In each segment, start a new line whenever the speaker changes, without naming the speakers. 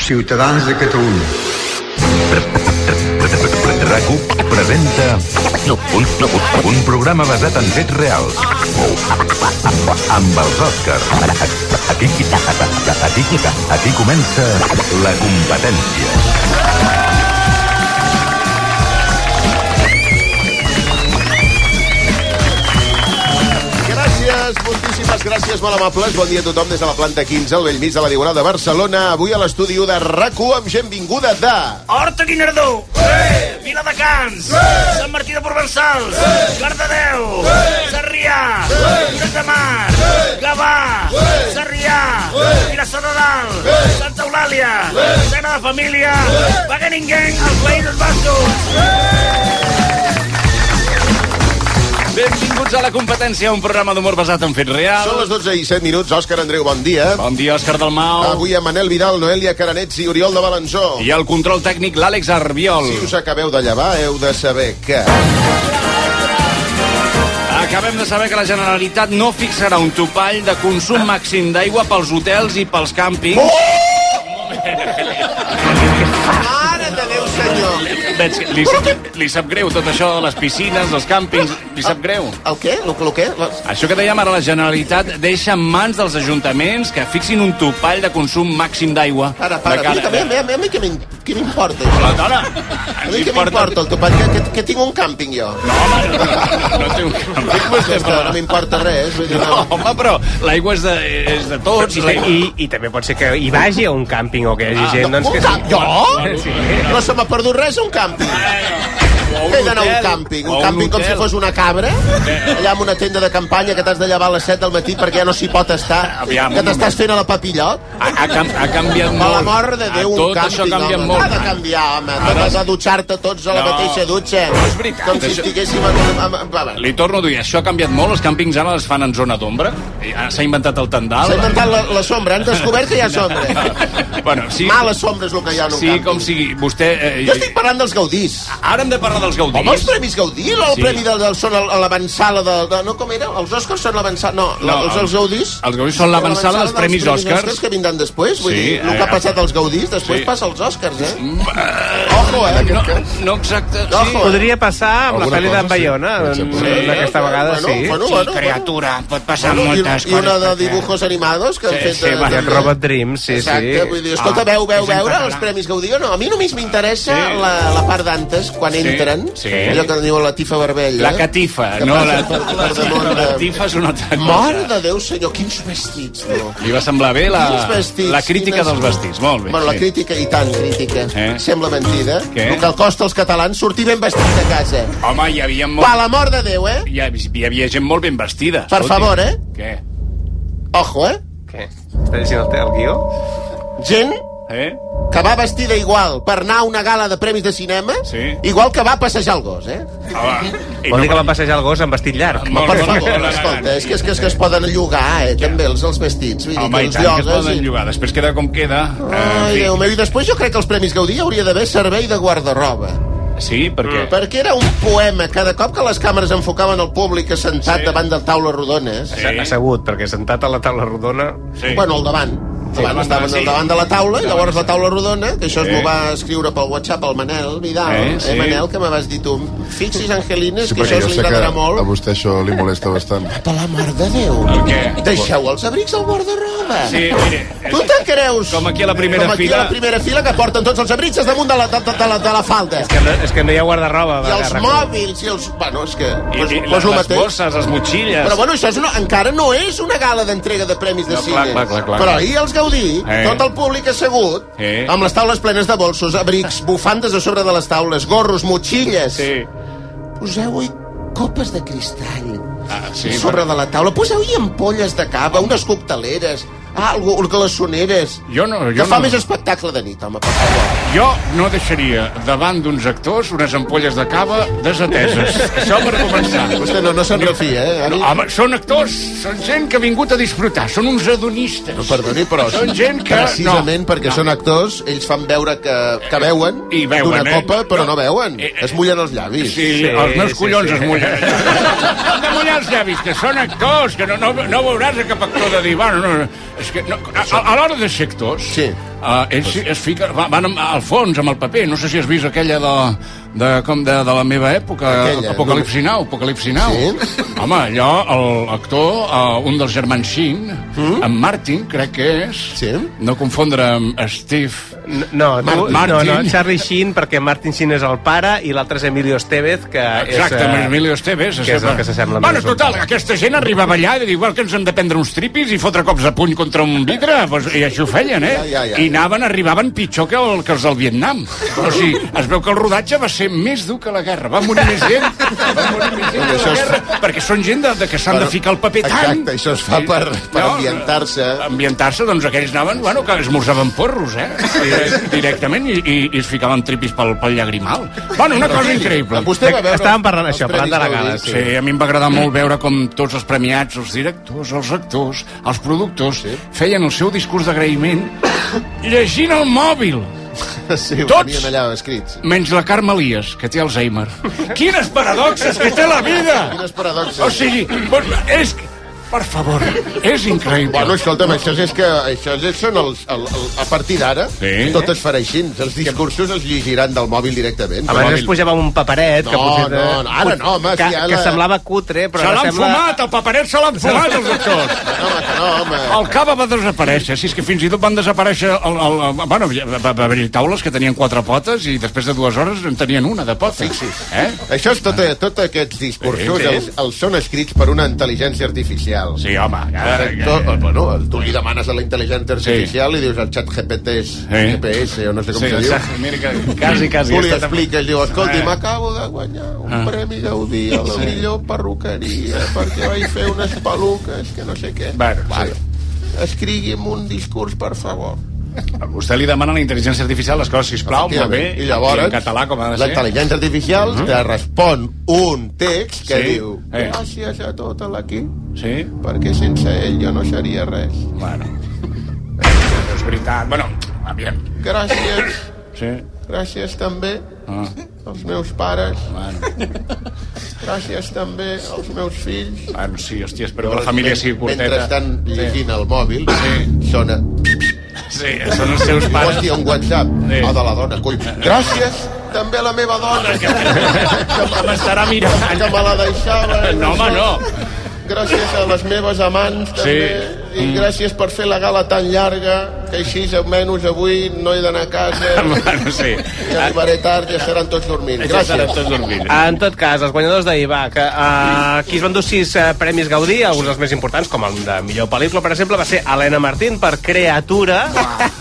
Ciutadans de Catalunya.
rac presenta un, un programa basat en fets reals. Amb els Òscars. Aquí, aquí, aquí comença la competència.
Gràcies, moltíssimes gràcies, molt amables. Bon dia a tothom des de la planta 15, al vell mig de la Diagonal de Barcelona. Avui a l'estudi u de rac amb gent vinguda de...
Horta Guinardó. Sí. Vila de Cans. Sí. Sant Martí de Provençals. Sí. Cardedeu. Sí. Sarrià. Sí. Lloret de Mar. Sí. Gavà. Sí. Sarrià. Sí. Vilassar de Dalt. Sí. Santa Eulàlia. Sí. Cena de Família. Sí. Paganinguenc, els Països Bascos.
Benvinguts a la competència, un programa d'humor basat en fets
Són
reals.
les 12 i 7 minuts. Òscar Andreu, bon dia.
Bon dia, Òscar Dalmau.
Avui amb Manel Vidal, Noelia Caranets i Oriol de Balanzó.
I el control tècnic, l'Àlex Arbiol.
Si us acabeu de llevar, heu de saber que...
Acabem de saber que la Generalitat no fixarà un topall de consum màxim d'aigua pels hotels i pels càmpings.
Mare de Déu, senyor!
Veig que li,
Oh!
li sap greu tot això de les piscines, els càmpings, li sap greu.
El què? El, el què?
Això que dèiem ara, la Generalitat deixa en mans dels ajuntaments que fixin un topall de consum màxim d'aigua.
Para, para, a mi,
eh?
també, a mi, a mi, a mi què m'im- què m'importa, això?
La dona!
A mi què m'importa el topall? Que, que, que tinc un càmping, jo.
No, home, no, no, no té un càmping,
Ja
vostè,
està,
però...
no m'importa res. vull dir,
No, home, però l'aigua és de, és de tots.
I, i, I també pot ser que hi vagi a un càmping o que hi hagi gent...
No,
doncs,
un
que...
càmping? Jo?
Sí.
No se m'ha perdut res, un càmping. Què he d'anar a un càmping? Un càmping com si fos una cabra? Allà amb una tenda de campanya que t'has de llevar a les 7 del matí perquè ja no s'hi pot estar?
Aviam,
que
un
t'estàs fent a la papillot?
Ha, ha, cam ha canviat
A
molt.
la mort de Déu,
Ah,
un
tot
càmping,
això ha canviat
home.
molt.
Ha de canviar, home. Tot
Ara-
has de dutxar-te tots a la
No.
mateixa dutxa.
No és veritat,
Com si
això-
estiguéssim en... en, en, en, en, en
Li torno a dir, això ha canviat molt, els càmpings ara les fan en zona d'ombra, I ara s'ha inventat el tendal.
S'ha inventat la, la sombra, han descobert que hi ha sombra.
bueno, sí,
Mala sombra és el que hi ha en un
sí
càmping.
com sigui, vostè... Eh,
Jo estic parlant dels Gaudís.
Ara hem de parlar dels Gaudís.
Home, els Premis Gaudí, el
Sí.
premi del, del, són a l'avançala de, de... No, com era? Els Oscars són l'avançala... No, no, els, els Gaudís...
els Gaudís són l'avançala dels Premis Oscars.
que vindran després, vull
Sí,
dir, el que
eh,
ha passat als Gaudís, després
sí.
passa als Oscars, eh? Ojo, eh, en
No,
aquest cas.
no exacte...
No,
Sí.
joder.
Podria passar amb la
Alguna
pel·li d'en
cosa, sí.
Bayona,
Per
sí.
exemple.
aquesta vegada
bueno,
sí.
Bueno, bueno, bueno.
pot passar
I, I una de dibujos animados que han fet...
sí,
eh,
va,
també.
Aquest Robot Dream, sí,
Exacte,
sí.
vull dir, escolta, veu, veu, veure els Premis Gaudí o no? A mi només m'interessa
Ah, Sí.
la, la part d'antes, quan entren,
sí.
allò que en diuen la tifa barbella.
La catifa,
eh? Que
no
passa
la...
per- per
La
damunt eh? de-
catifa és una altra cosa.
Mare de Déu, senyor, quins vestits, no?
Li va semblar bé la,
Quins vestits,
la crítica
quines-
dels vestits, molt bé.
Bueno, la
sí.
crítica, i tant, crítica.
Eh?
Sembla mentida.
Què?
El que el costa als catalans sortir ben vestit de casa.
Home, hi havia, molt,
Per la mort de Déu, eh?
hi havia, hi havia gent molt ben vestida.
Per
escolti.
favor, eh?
Què?
Ojo, eh?
Què? Està llegint el, te- el guió?
Gent
Eh?
que va vestida igual per anar a una gala de premis de cinema,
Sí.
igual que va passejar el gos, eh?
Home, i
Vol dir que
no-
va passejar el gos amb vestit llarg.
Ah, Molt
Per
bé,
favor,
molt bé.
escolta, és que, és que, és que es poden llogar, eh, també, els, els vestits. Vull dir,
Home,
que
i
els
tant, que es
llogues
poden
i-
llogar. Després queda com queda. Eh,
Ai,
en fi.
Déu meu, i després jo crec que els Premis Gaudí hauria d'haver servei de guardarroba.
Sí, perquè...
Perquè era un poema. Cada cop que les càmeres enfocaven el públic assentat
Sí.
davant de taules rodones...
Sí.
Ha Assegut, perquè sentat a la taula rodona...
Sí.
Bueno, al davant. Davant,
davant,
estaven
sí.
al davant de la taula, i llavors la taula rodona, que això es
Sí.
m'ho va escriure pel WhatsApp el Manel Vidal.
Eh,
Eh,
sí.
Manel, que me vas dir tu, fixis, Angelines, que
perquè
això us
jo
li
sé que
agradarà
a
molt.
vostè això li molesta bastant.
Per la mort de Déu.
El què?
Deixeu els abrics al guardarroba.
Sí, mire... eh,
Tu te creus?
Com aquí a la primera
Com aquí
fila.
a la primera fila que porten tots els abrics és damunt de la, de, de, de la, de la falda.
Que no, és que no hi ha guardarroba.
I
va,
els
rac-
mòbils i els... Bueno, és que...
I,
pues-
i,
pues
les,
el
les
mateix.
bosses, les motxilles...
Però bueno, això és una, encara no és una gala d'entrega de premis de
No,
cine.
clar, clar, clar, clar.
Però ahir els Gaudí,
Eh.
tot el públic assegut,
Eh.
amb les taules plenes de bolsos, abrics, bufandes a sobre de les taules, gorros, motxilles...
Sí.
Poseu-hi copes de cristall
Ah,
sí,
sí,
sobre
però...
de la taula. Poseu-hi ampolles de cava, unes cocteleres, ah, algo, glaçoneres...
Jo no, jo
que fa
no.
més espectacle de nit, home, per favor.
Jo no deixaria davant d'uns actors unes ampolles de cava desateses. Això per començar.
Vostè no, no se'n refia, eh?
No, home, són actors, són gent que ha vingut a disfrutar, són uns hedonistes. No,
Perdoni, però
Són gent que-
precisament
no,
perquè
no. Eh,
són actors, ells fan veure que, que veuen,
I veuen,
d'una
eh?
copa, però no,
No.
veuen.
Eh, eh.
es mullen els llavis.
Sí, sí, els meus
sí,
collons
sí.
es mullen. Han de mullar els llavis, que són actors, que no, no, no veuràs a cap actor de dir, bueno, no, és que no, a, a l'hora de ser actors,
Sí.
Uh, ells es fiquen, va- van amb- al fons amb el paper. No sé si has vist aquella de, de, com de, de la meva època,
Aquella,
Apocalipsi Now. Apocalipsi Now.
Sí?
Home, allò, l'actor, uh, un dels germans Sheen, mm? en Martin, crec que és,
Sí?
no confondre amb Steve...
No, tu,
Mar-
no, no,
Martin.
Charlie Sheen, perquè Martin Sheen és el pare i l'altre és Emilio Estevez, que
Exacte,
és...
amb
eh,
Emilio Estevez.
que és el que s'assembla més
Bueno,
a un
total,
pare.
aquesta gent arribava allà i diu, igual que ens hem de prendre uns tripis i fotre cops de puny contra un vidre, pues, i això ho feien, eh?
Ja, ja, ja, ja.
I anaven, arribaven pitjor que, el, que els del Vietnam. O sigui, es veu que el rodatge va ser més dur que la guerra. Va morir més gent, va morir més gent que
Doncs Això
la
és-
guerra, perquè són gent de, de que s'han de ficar el paper tant.
Exacte, això es fa
Sí.
per- per ambientar-se.
Ambientar-se, doncs aquells anaven, bueno, que esmorzaven porros, eh? Direct- Directament, i, i, i es ficaven tripis pel, pel llagrimal. Bueno, una cosa increïble.
Vostè va veure...
Estàvem parlant
els
això, parlant de
Premis
la gala,
Gaudí.
Sí, a mi em va agradar molt veure com tots els premiats, els directors, els actors, els productors, sí. feien el seu discurs d'agraïment llegint el mòbil,
Sí, ho
Tots.
tenien allà escrits.
menys la Carme Elias, que té Alzheimer. Quines paradoxes que té la vida!
Quines paradoxes.
O sigui, doncs, és... que- Per favor, és increïble.
Bueno, escolta'm, això és que... Això és, són els, el, el, a partir d'ara,
Sí.
tot es farà així. Els discursos es llegiran del mòbil directament.
Abans es pujava amb un paperet que
No,
potser...
no, no, ara no, home,
que,
si ara-
que semblava cutre, però
Se
ara
l'han
sembla...
fumat, el paperet se l'han fumat, els actors.
No, home, que no, home.
El cava va desaparèixer, si és que fins i tot van desaparèixer... El, el, el, bueno, va, va va haver-hi taules que tenien quatre potes i després de dues hores en tenien una de pota. Fixi's. Eh?
Això és tot, tot aquests discursos,
Sí, sí.
els, els són escrits per una intel·ligència artificial.
Sí, home. Ja, ja,
Tot, bueno, tu li demanes a la intel·ligència artificial i dius el xat GPT és
Sí.
GPS o no sé com
Eh. Sí,
se diu.
exacte, mira que quasi, quasi.
Tu li
ha estat-
expliques, diu, escolti,
Eh.
m'acabo de guanyar un premi Gaudí a la millor perruqueria perquè vaig fer unes peluques que no sé què.
Bueno, sí.
Escrigui'm un discurs, per favor.
Vostè li demana a la intel·ligència artificial les coses, sisplau, molt bé,
I llavors,
i en català com ha de ser.
l'intel·ligència artificial te respon un text que
Uh-huh. Sí.
diu
Eh.
gràcies a tot l'equip
Sí?
perquè sense ell jo no seria res.
Bueno. Eh, És veritat. Bueno, aviam.
Gràcies,
Sí?
gràcies també
Ah,
als meus pares,
bueno.
gràcies també als meus fills.
bueno, sí, hòstia, espero que la família sigui curteta.
Mentre estan llegint el mòbil,
Sí.
sona...
Sí, són els seus pares.
Hòstia, un WhatsApp.
Sí.
Ah, de la dona, coi. Gràcies també a la meva dona. Que,
Que
me-
m'estarà mirant.
que me la deixava. eh?
No, home, no.
Gràcies a les meves amants, també.
Sí. Mm.
I gràcies per fer la gala tan llarga, que així almenys avui no he d'anar a casa.
Bueno, sí.
I arribaré tard i estaran tots dormint.
Ja estaran
Gràcies.
tots dormint.
En tot cas, els guanyadors d'ahir, va, que uh, qui es van dur sis uh, premis Gaudí, alguns dels més importants, com el de millor pel·lícula, per exemple, va ser Helena Martín per Creatura.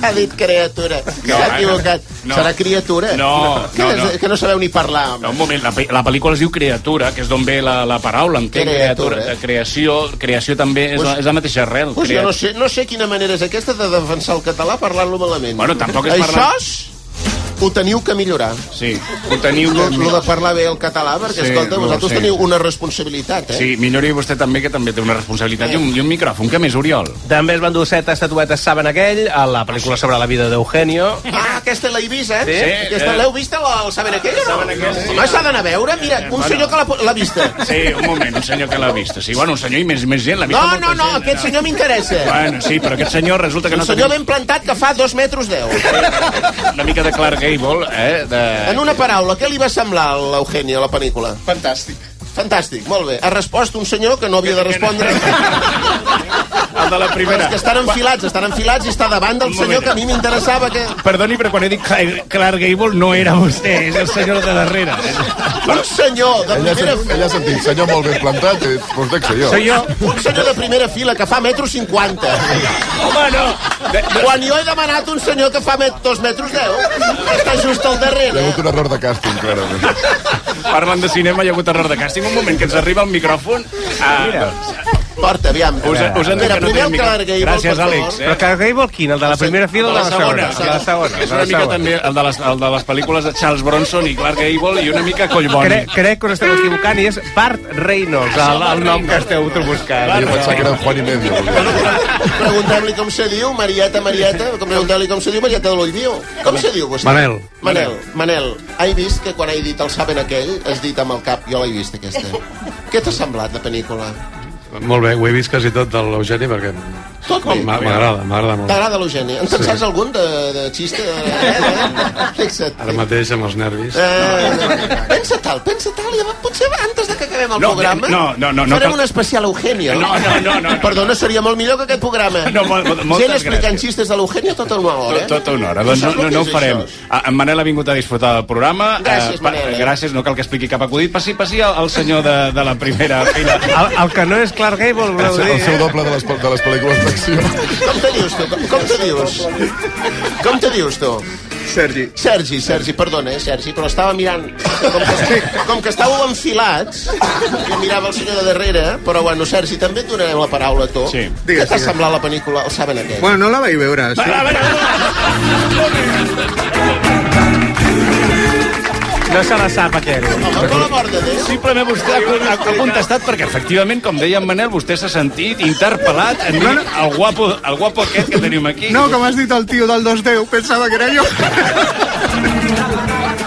Ha dit criatura. No, S'ha
eh?
equivocat.
No.
Serà criatura.
No,
que,
no, no.
que no sabeu ni parlar. Home.
No, un moment, la, pe- la pel·lícula es diu Creatura, que és d'on ve la, la paraula, entenc,
Creatura,
creatura,
eh?
de creació, creació també és, la, és la mateixa arrel.
Pues jo
crea-
no sé, no sé quina manera és aquesta de defensar el català parlant-lo malament.
Bueno, tampoc és
Això
parlar-
és... ho teniu que millorar.
Sí, ho teniu...
Lo, lo de parlar bé el català, perquè,
Sí,
sí, escolta,
no,
vosaltres
sí.
teniu una responsabilitat, eh?
Sí, millori vostè també, que també té una responsabilitat i un, i un micròfon. Què més, Oriol?
També es van dur set estatuetes Saben aquell, a la pel·lícula sobre la vida d'Eugenio.
Ah, aquesta l'he vist, eh?
Sí?
Aquesta
eh.
l'heu vist, la, el Saben aquell, o no? Saben aquell, sí. Home, s'ha d'anar a veure, mira, un senyor que l'ha- l'ha vista.
Sí, un moment, un senyor que l'ha vista. Sí, bueno, un senyor i més, més gent. L'ha
No,
vista molta
no, no,
gent, eh?
aquest senyor m'interessa.
Bueno, sí, però aquest senyor resulta que
Un
no
senyor ben plantat que fa dos metres deu.
Una mica de Clark Gable, eh? De...
En una paraula, què li va semblar a l'Eugeni a la pel·lícula?
Fantàstic.
Fantàstic, molt bé. Ha respost un senyor que no havia de respondre.
El de la
Però és
primera.
que estan enfilats, estan enfilats i està davant del
Un
senyor
moment.
que a mi m'interessava que...
Perdoni, però quan he dit Cla- Clark Gable no era vostè, és el senyor de darrere.
Un senyor de
Ella,
primera
ella ha sentit, senyor molt ben plantat, eh, doncs dec ser jo.
Senyor,
Un senyor de primera fila que fa metro cinquanta.
home, no. De, de,
Quan jo he demanat un senyor que fa met dos metros deu, que està just al
Hi ha
darrere.
hagut un error de càsting, clarament.
Parlen de cinema, hi ha hagut error de càsting. Un moment, que ens arriba el micròfon. Ah, Mira,
Porta, aviam.
us, us han dit
Mira,
que no
primer
tenim
el
micròfon.
Clark Gable,
Gràcies,
per favor.
Àlex. eh.
Però que Gable quin? El de la primera fila o de la segona? El de la segona.
És una mica també el de, les, el de les pel·lícules de Charles Bronson i Clark Gable i una mica Collboni.
Crec, crec que us esteu equivocant i és Bart Reynolds, el, el nom que esteu buscant.
Jo pensava que era en Juan i Medio.
Preguntem-li com se diu, Marieta, Marieta. Preguntem-li com se diu, Marieta de l'Oidio. Com se diu vostè?
Manel.
Manel, Manel, he vist que quan he dit el saben aquell, has dit amb el cap, jo l'he vist eh? aquesta. Què t'ha semblat, la pel·lícula?
Molt bé, ho he vist quasi tot de l'Eugeni perquè
Tot bé.
M'a- M'agrada, m'agrada molt.
T'agrada l'Eugeni? En t'en saps algun de, de xiste? Eh, eh? Fixa't.
Ara mateix, amb els nervis.
Eh, pensa tal, pensa tal, i potser antes de que acabem el
No,
programa
no, no, no, no
farem
cal-
un especial Eugenio.
No, no, no, no, no.
Perdona, seria molt millor que aquest programa.
No, mo- mo- moltes
Gent explicant
gràcies.
xistes de l'Eugenio tota una hora.
Tot, tota una hora. Doncs
Això
no,
és
no,
el
no ho
que és
farem.
això.
Ah, En Manel ha vingut a disfrutar del programa.
Gràcies,
pa-
Manel, eh?
Gràcies, no cal que expliqui cap acudit. Passi, passi al, al senyor de, de la primera fila.
El, el que no és Clark Gable, voleu dir...
El seu doble de les, pel- de les pel·lícules d'acció.
Com te dius tu? Com, com te dius? Com te dius tu?
Sergi.
Sergi, Sergi, perdona, eh, Sergi, però estava mirant... Com que, com que estàveu enfilats, jo mirava el senyor de darrere, però bueno, Sergi, també et donarem la paraula a tu.
Sí.
Digues,
Què t'ha
digues.
semblat la pel·lícula? El saben aquest.
Bueno, no la vaig veure.
Va, va, va,
No se la sap, aquell.
Home, per la eh? mort de Déu.
Simplement vostè ha, ha, ha contestat perquè, efectivament, com deia en Manel, vostè s'ha sentit interpel·lat en dir el guapo, el guapo aquest que tenim aquí.
No, com has dit el tio del 210, pensava que era jo.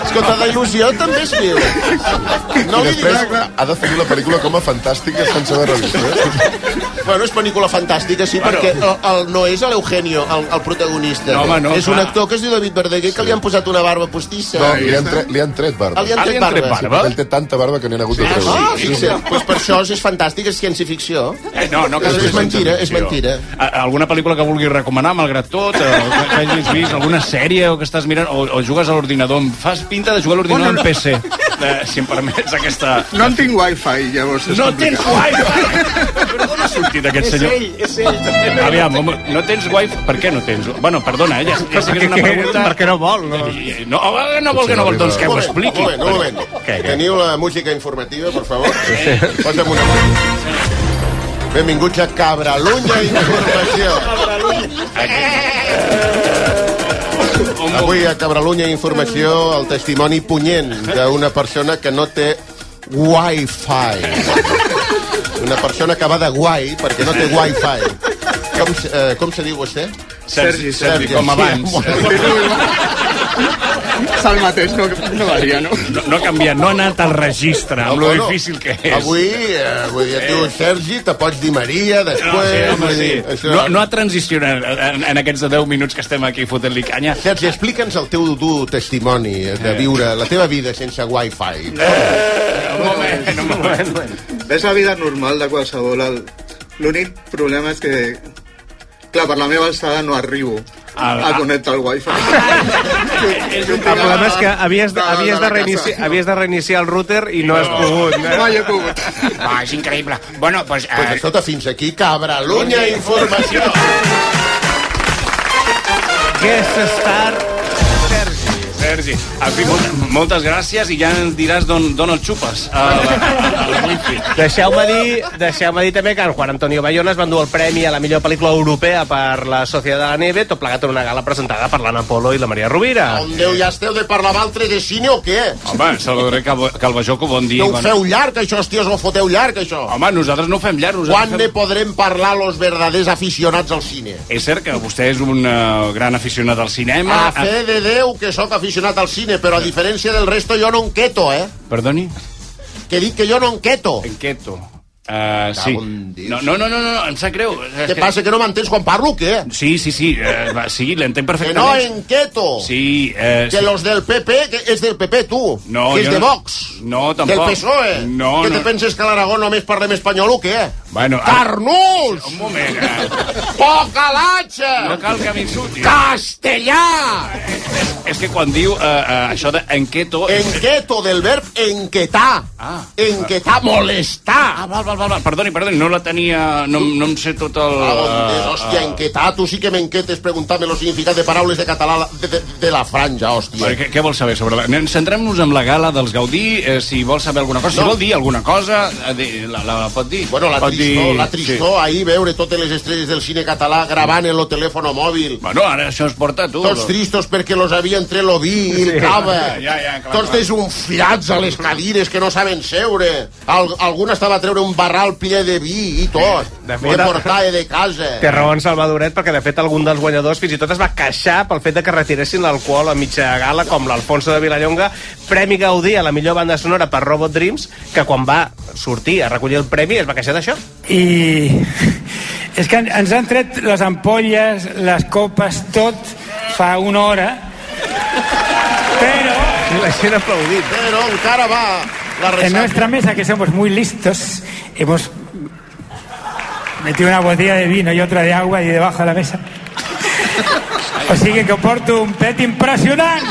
Escolta, d'il·lusió també es viu. No
I
li
després
diguis...
ha definit la pel·lícula com a fantàstica sense haver-la vist. Eh?
Bueno, és pel·lícula fantàstica, sí,
Bueno.
perquè el, el, no és l'Eugenio, el, el protagonista.
No, home, no,
és un
clar.
actor que es diu David Verdaguer, que li han posat una barba postissa.
No, li han, tre li han tret barba.
Ah, li han
Ah, li
tret
han tret
barba.
barba.
Ell té tanta barba que n'hi ha hagut de treure.
Ah, fixa't. Pues per això és fantàstic, és ciència-ficció.
Eh, no, no, que
És- és
sense
mentira, és
interrupció.
mentira.
A- Alguna pel·lícula que vulguis recomanar, malgrat tot, o que, que hagis vist, alguna sèrie o que estàs mirant, o, o jugues a l'ordinador, em fas pinta de jugar a
Bueno,
l'ordinador en
no.
PC, eh, si em permets aquesta...
No en tinc wifi, llavors és
No tens
complicat.
wifi! Però d'on ha sortit aquest senyor? És ell, és ell. Aviam, home, no tens wifi? Per què no tens? Bueno, perdona, eh, ja, ja sé que és una pregunta...
Perquè no vol, no?
No, home, no vol que no vol, doncs que ho expliqui.
Un moment, un moment.
Què, què?
Teniu la música informativa, per favor? Sí. Posa'm una... Benvinguts a Cabralunya Informació. Avui a Cabralunya Informació el testimoni punyent d'una persona que no té Wi-Fi. Una persona que va de guai perquè no té Wi-Fi. Com, se- eh, com se diu vostè?
Sergi, Sergi,
Sergi,
com abans.
sí,
És el mateix, no, no varia, no?
No, no ha canviat, no ha anat al registre, amb lo difícil que és.
Avui, eh, avui et diu Sergi, te pots dir Maria,
No,
després...
Ah, sí, home,
vull
sí.
dir, això-
no, no ha transicionat eh, en, en aquests de 10 minuts que estem aquí fotent-li canya.
Sergi, explica'ns el teu dur testimoni eh, de
Eh.
viure la teva vida sense wifi.
Un moment, un moment.
És la vida normal de qualsevol. el- L'únic problema és que... Clar, per la meva alçada no arribo
Al-
a connectar el wifi.
Ah, El problema és que havies de, havies de, reiniciar,
Havies...
havies de reiniciar el router i no has pogut.
No hi he pogut.
Ah, és increïble. Bueno, doncs...
Pues
Eh,
escolta, fins aquí, cabralunya informació.
Guest star...
Sergi, en fi, molt, moltes gràcies i ja ens diràs d'on d'on el xupes. A la, a la Wifi.
Deixeu-me dir, deixeu dir també que en Juan Antonio Bayona es va endur el premi a la millor pel·lícula europea per la Sociedad de la Nieve, tot plegat en una gala presentada per l'Anna Polo i la Maria Rovira.
Amb Déu ja esteu de parlar altre de cine o què?
Home, Salvador Calvo, Calvajoco, bon dia.
No ho
Bon-
feu llarg, això, hostios, no ho foteu llarg, això.
Home, doncs nosaltres no ho fem llarg. nosaltres
Quan ne podrem parlar los verdaders aficionats al cine?
Fem... És cert que vostè és un eh, gran aficionat al cinema.
A fe de Déu que sóc aficionat al cine, però a diferència del resto jo no enqueto, eh?
Perdoni?
Que dic que jo no enqueto.
Enqueto. Uh, sí.
en Déu.
No, no, no, no, no, em sap greu. És
Què
que-
passa, que no m'entens quan parlo o què?
Sí, sí, sí, eh, va, sí, l'entenc
Que no
perfectament.
enqueto.
Sí, eh,
Que
sí.
los del PP, que és del PP, tu.
No,
que és
jo
de
no-
Vox.
No, tampoc.
Del PSOE.
No,
E. que
no.
te penses que a l'Aragó només parlem espanyol o què?
Bueno, ara,
Carnús!
un moment, eh,
Poca latxa!
no cal que m'insulti.
Castellà!
És que quan diu eh, eh, això de enqueto...
Enqueto, del verb enquetar.
Ah.
enquetar, molestar.
Ah, val, val, val, val, perdoni, perdoni, no la tenia... No, no em sé tot el...
Ah, on és,
eh,
hòstia, enquetar, tu sí que m'enquetes preguntant-me el significat de paraules de català de, de, de la franja, hòstia.
Però eh, què, què vols saber sobre la... anem- Centrem-nos en la gala dels Gaudí, eh, si vol saber alguna cosa, si
No.
vol dir alguna cosa, eh, de- la, la pot dir.
Bueno, la
pot
tristor,
dir-
la tristor, ahir veure totes les estrelles del cine català gravant en el telèfon mòbil.
Sí. Bueno, ara això es porta a tu.
Tots tristos perquè los havia entre lo vi i el cava.
Ja, ja, clar,
Tots
clar.
desunfilats a les cadires que no saben seure. Al, algun estava a treure un barral ple de vi i tot.
De
De,
fet,
portava de casa.
Té raó en Salvadoret, perquè de fet algun dels guanyadors fins i tot es va queixar pel fet de que retiressin l'alcohol a mitja gala, com l'Alfonso de Vilallonga, Premi Gaudí a la millor banda sonora per Robot Dreams, que quan va sortir a recollir el premi es va queixar d'això.
I És que ens han tret les ampolles, les copes, tot fa una hora. Però...
La gent ha aplaudit.
Però encara va la
En
ressaca.
nuestra mesa, que somos muy listos, hemos metido una botella de vino y otra de agua y debajo de la mesa. Así que comporto un pet impressionant.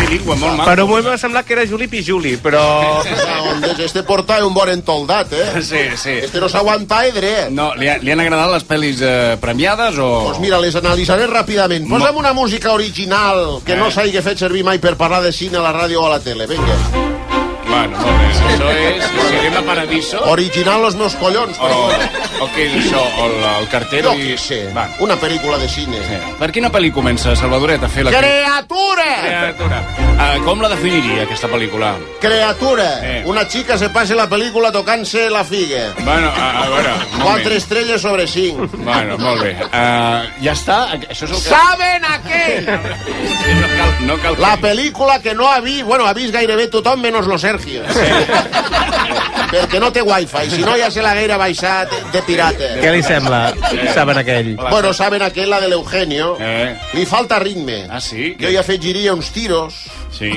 Bilingüe, molt
Per
mal.
un moment va semblar que era Juli Pijuli, però...
Ah, ondes, este porta un bon entoldat, eh?
Sí, sí.
Este no s'aguanta, eh, dret.
No, li, ha, li han agradat les pel·lis eh, premiades o...
Doncs mira, les analitzaré ràpidament. Posa'm una música original que
Eh.
no s'hagi fet servir mai per parlar de cine a la ràdio o a la tele. Vinga.
Bueno, molt bé. Això és Cinema Paradiso? O,
Original los meus collons,
o,
però...
o què és això? O el, el cartero
Jo
i...
què sé.
Va.
Una pel·lícula de cine.
Sí. Per quina pel·li comença Salvadoret a fer la...
Creatura!
Criatura. Uh, com la definiria, aquesta pel·lícula?
Creatura.
Eh.
Una chica se passa la pel·lícula tocant-se la figa.
Bueno, a, a veure... un moment.
Quatre estrelles sobre cinc.
Bueno, molt bé. Uh, ja està? Això és el que...
Saben a què?
Sí, No cal, no cal
La pel·lícula que no ha vist... Bueno, ha vist gairebé tothom menys lo Sergio. Perquè no té wifi, si no ja se l'haguera baixat de pirata.
Què li sembla? Saben aquell.
Bueno, saben aquell, la de l'Eugenio.
Eh.
Li falta ritme.
Ah, sí?
Jo hi afegiria uns tiros,
Sí.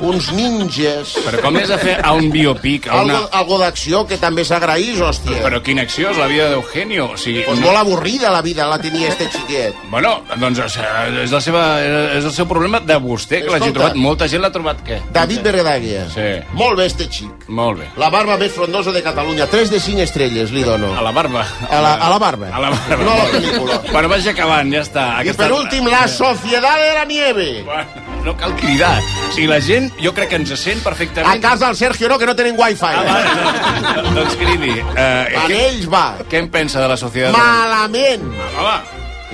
uns ninjas,
Però com és a fer a un biopic, a
algo,
una...
algo d'acció que també s'agraís, hòstia. Però...
Però quina acció és la vida d'Eugenio? O sigui,
Pues molt avorrida la vida la tenia este xiquet.
Bueno, doncs o sigui, és, la seva, és el seu problema de vostè, que l'hagi
Escolta.
trobat. Molta gent l'ha trobat què?
David Beredàguia.
Sí.
Molt bé, este xic.
Molt bé.
La barba més frondosa de Catalunya. 3 de 5 estrelles li dono.
A la barba.
A la, a la barba.
A la barba.
No a la pel·lícula.
Bueno, vaig acabant, ja està.
I per últim, La Sociedad de la Nieve.
Bueno, no cal cridar. O sigui, la gent, jo crec que ens sent
A
perfectament.
casa del Sergio no, que no tenen wifi.
Ah,
Ah,
va, no, doncs cridi. Eh,
en
què,
ells va.
què en pensa de la societat?
Malament.
Va, va.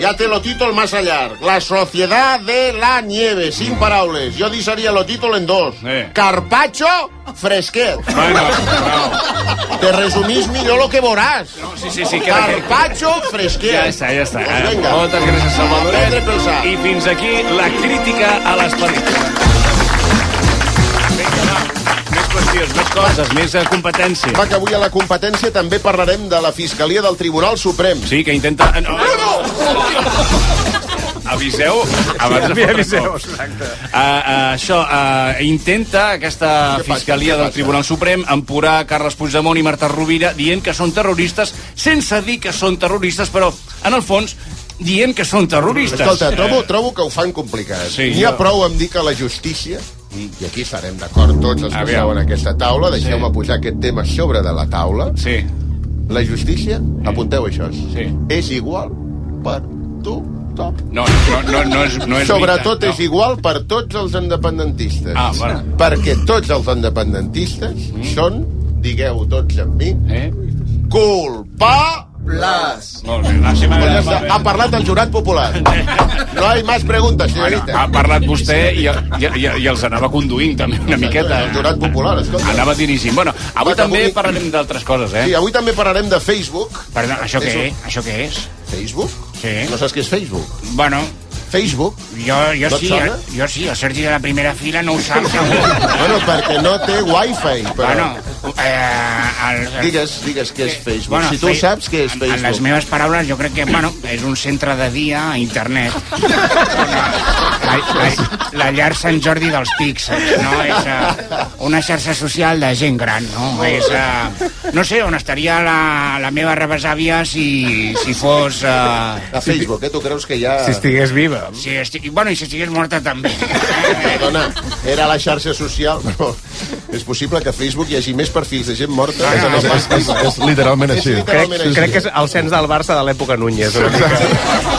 Ya te lo tito más allá. La sociedad de la nieve, sin paraules. Yo disaría lo título en dos.
Eh.
Carpacho, fresquet.
Bueno, bravo.
Te resumís millor lo que vorás.
No, sí, sí, sí, queda, queda,
Carpacho, fresquet.
Ja està, ja està.
Doncs
Pues
vinga.
Moltes gràcies, Salvador.
A prendre pel sac.
I fins aquí la crítica a les pel·lícules. Vinga, va. Més qüestions, més coses, més eh, competència.
Va, que avui a la competència també parlarem de la Fiscalia del Tribunal Suprem.
Sí, que intenta... eh, No, Aviseu abans de fotre
aviseu,
cops. Uh, uh, això, uh, intenta aquesta Fiscalia del Tribunal Suprem empurar Carles Puigdemont i Marta Rovira dient que són terroristes, sense dir que són terroristes, però, en el fons, dient que són terroristes.
Escolta, trobo, trobo que ho fan complicat.
Sí,
N'hi ha
jo-
prou amb dir que la justícia, i aquí estarem d'acord tots els que
Aviam.
esteu en aquesta taula, deixeu-me posar aquest tema sobre de la taula,
Sí.
la justícia, apunteu això,
Sí.
és igual per tothom.
No, no, no, no és, no és
Sobretot
veritat,
és
no.
igual per tots els independentistes.
Ah, bueno.
Perquè tots els independentistes són, digueu tots amb mi,
Eh?
culpables.
Molt bé, la seva...
Pues ja està, ha parlat el jurat popular. No hi ha més preguntes,
Ha
senyorita.
parlat vostè i, i, i, i els anava conduint també una miqueta. eh?
El jurat popular, escolta.
Anava dirigint. Bueno, avui
Va, que
també
avui-
parlarem d'altres coses, eh?
Sí, avui també parlarem de Facebook.
Perdó, això què
És
és? Això què és?
Facebook?
Sí.
No saps què és Facebook?
Bueno,
Facebook?
jo, jo
No et
sí,
sona?
jo, jo sí, el Sergi de la primera fila no ho sap, segur.
Bueno, perquè no té wifi, però...
Bueno, eh, el, el,
Digues, digues què és Facebook. si tu
fe-
saps què és
en- En les
Facebook.
meves paraules, jo crec que, bueno, és un centre de dia a internet. La, la, la llar Sant Jordi dels píxels, no? És uh, una xarxa social de gent gran, no? És, uh, no sé on estaria la, la meva rebesàvia si, si fos... Uh,
A Facebook, eh? Tu creus que ja...
Si estigués viva.
si estic, bueno, i si estigués morta també.
Perdona, era la xarxa social, però és possible que a Facebook hi hagi més perfils de gent morta que no
Ah, És, és,
pas...
és, és literalment
És
així.
literalment-
Crec, crec que és el cens del Barça de l'època Núñez. Una mica.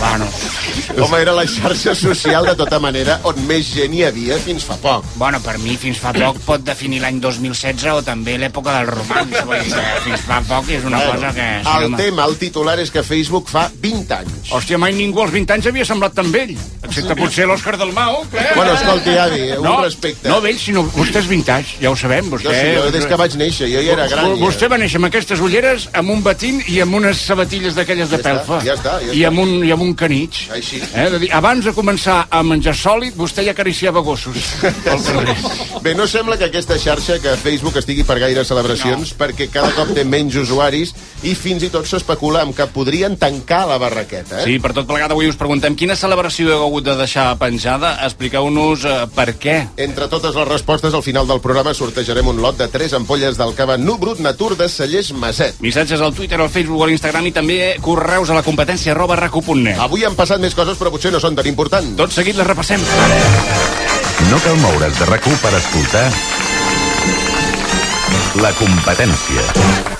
bueno,
Home, era la xarxa social, de tota manera, on més gent hi havia fins fa poc.
bueno, per mi fins fa poc pot definir l'any 2016 o també l'època del romans. Vull dir, que fins fa poc és una cosa que... si no
el
me-
tema, el titular, és que Facebook fa 20 anys.
Hòstia, mai ningú als 20 anys havia semblat tan vell. Excepte potser l'Òscar Dalmau.
Oh.
Eh?
Bueno, escolti, avi, eh, un respecte.
No vell, sinó vostè és vintage, ja ho sabem.
Jo
Vostè,
Eh,
sí, jo des que vaig néixer, jo ja era gran. ja.
Vostè va néixer amb aquestes ulleres, amb un batín i amb unes sabatilles d'aquelles de
Ja està,
pelfa.
ja està, ja
I
està.
amb un, i amb un canitx.
Així així.
Eh? De dir, abans de començar a menjar sòlid, vostè ja acariciava gossos. Pel carrer.
Bé, no sembla que aquesta xarxa, que Facebook estigui per gaire celebracions, no. perquè cada cop té menys usuaris i fins i tot s'especula amb que podrien tancar la barraqueta. Eh?
Sí, per tot plegat avui us preguntem quina celebració heu hagut de deixar penjada. Expliqueu-nos eh, per què.
Entre totes les respostes, al final del programa sortejarem un lot de 3 ampolles del cava Nu Brut Natur de Cellers Maset.
Missatges al Twitter, al Facebook, a l'Instagram i també correus a la competència arroba racu.net.
Avui han passat més coses, però potser no són tan importants.
Tot seguit les repassem.
No cal moure's de rac per escoltar la competència.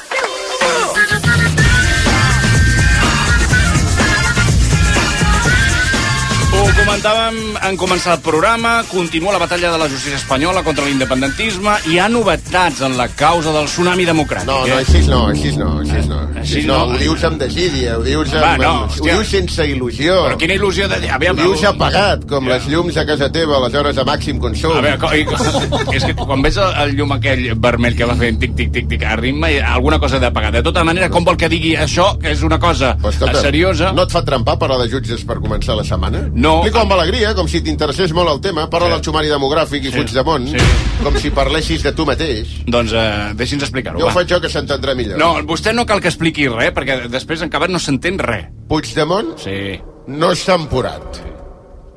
Ho comentàvem en començar el programa, continua la batalla de la justícia espanyola contra l'independentisme, hi ha novetats en la causa del tsunami democràtic.
No, no,
eh?
així no, així no, així no. Així no,
no.
ho dius amb desídia, ho dius, amb,
Va, no,
ho
hòstia.
dius sense il·lusió.
Però quina il·lusió de... A
Ho
veure,
dius apagat, com les llums a casa teva, a les hores de màxim consum.
A veure, co- i co- és que quan veig el, el llum aquell vermell que va fent tic, tic, tic, tic, a ritme, hi ha alguna cosa de pagat. De tota manera, com vol que digui això, que és una cosa
Escolta,
seriosa...
No et fa trempar parlar de jutges per començar la setmana?
No.
Explica amb alegria, com si t'interessés molt el tema. Parla
Sí.
del sumari demogràfic i
Sí.
Puigdemont,
Sí.
com si parlessis de tu mateix.
Doncs eh, deixi'ns explicar-ho,
Jo ho
va.
faig jo, que s'entendrà millor.
No, vostè no cal que expliqui res, perquè després en acabat no s'entén res.
Puigdemont
Sí.
no s'ha empurat.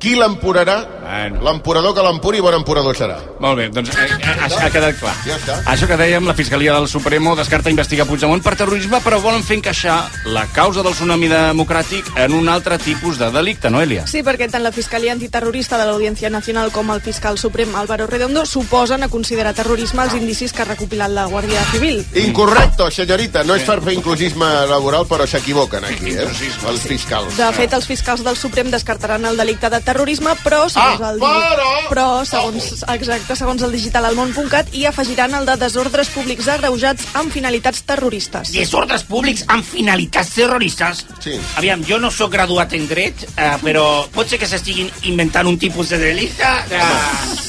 Qui l'empurarà?
Bueno.
L'empurador que l'empuri, bon empurador serà.
Molt bé, doncs eh, eh, això ha quedat clar.
Ja està.
Això que dèiem, la Fiscalia del Supremo descarta investigar Puigdemont per terrorisme, però volen fer encaixar la causa del tsunami democràtic en un altre tipus de delicte, no, Elias?
Sí, perquè tant la Fiscalia Antiterrorista de l'Audiència Nacional com el fiscal suprem Álvaro Redondo suposen a considerar terrorisme els indicis que ha recopilat la Guàrdia Civil.
Incorrecto, senyorita. No és per fer inclusisme laboral, però s'equivoquen aquí, eh? Els fiscals.
De fet, els fiscals del Suprem descartaran el delicte de terrorisme, però segons el
Ah, però...
però segons exacte, segons el digital al món.cat hi afegiran el de desordres públics agreujats amb finalitats terroristes.
Desordres públics amb finalitats terroristes?
Sí.
Aviam, jo no sóc graduat en dret, eh, però pot ser que s'estiguin inventant un tipus de delicte?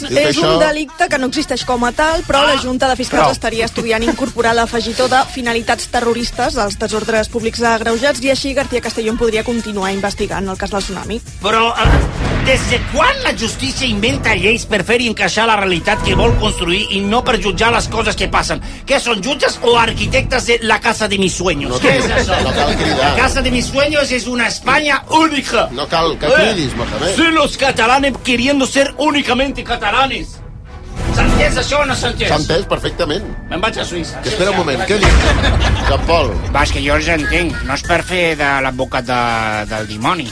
Eh,
Dit
És un
això- Ah,
delicte que no existeix com a tal, però la Junta de Fiscals
prou.
estaria estudiant incorporar l'afegitor de finalitats terroristes als desordres públics agreujats i així García Castellón podria continuar investigant el cas del tsunami.
però eh, des de quan la justícia inventa lleis per fer hi encaixar la realitat que vol construir i no per jutjar les coses que passen? Que són jutges o arquitectes de la casa de mis sueños?
No
Què
cal-
és això?
no cal cridar.
La casa de mis sueños és una Espanya única. Eh,
No cal que cridis, Mohamed.
Sí, los catalanes queriendo ser únicamente catalanes. S'entès això o no s'entès?
S'ha entès perfectament.
Me'n vaig a Suïssa.
Que espera un moment, què dius? Joan Pol,
Va, és que jo els entenc. No és per fer de l'advocat de, del dimoni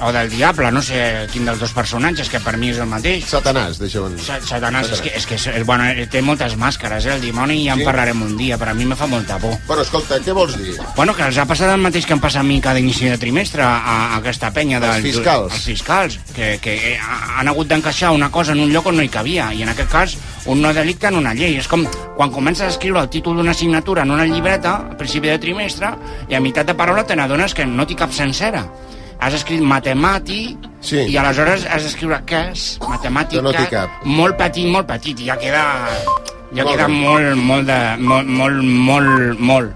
o del diable, no sé quin dels dos personatges, que per mi és el mateix.
Satanàs, deixa on...
Sa- Satanàs, és que, és que és, és- bueno, eh, té moltes màscares, eh, el dimoni, i ja en
Sí.
parlarem un dia, però a mi me fa molta por.
Bueno, escolta, què vols dir?
Bueno, que els ha passat el mateix que em passa a mi cada inici de trimestre a, a aquesta penya dels...
Els fiscals.
Els fiscals, que, que eh, ha- han hagut d'encaixar una cosa en un lloc on no hi cabia, i en aquest cas un no delicte en una llei. És com quan comences a escriure el títol d'una assignatura en una llibreta a principi de trimestre i a meitat de paraula te n'adones que no t'hi cap sencera. Has escrit matemàtic
Sí.
i aleshores has d'escriure cas, matemàtica,
No n'hi cap.
molt petit, molt petit, i ja queda... Ja
Molt
queda
bé.
molt, molt de... molt, molt, molt, molt.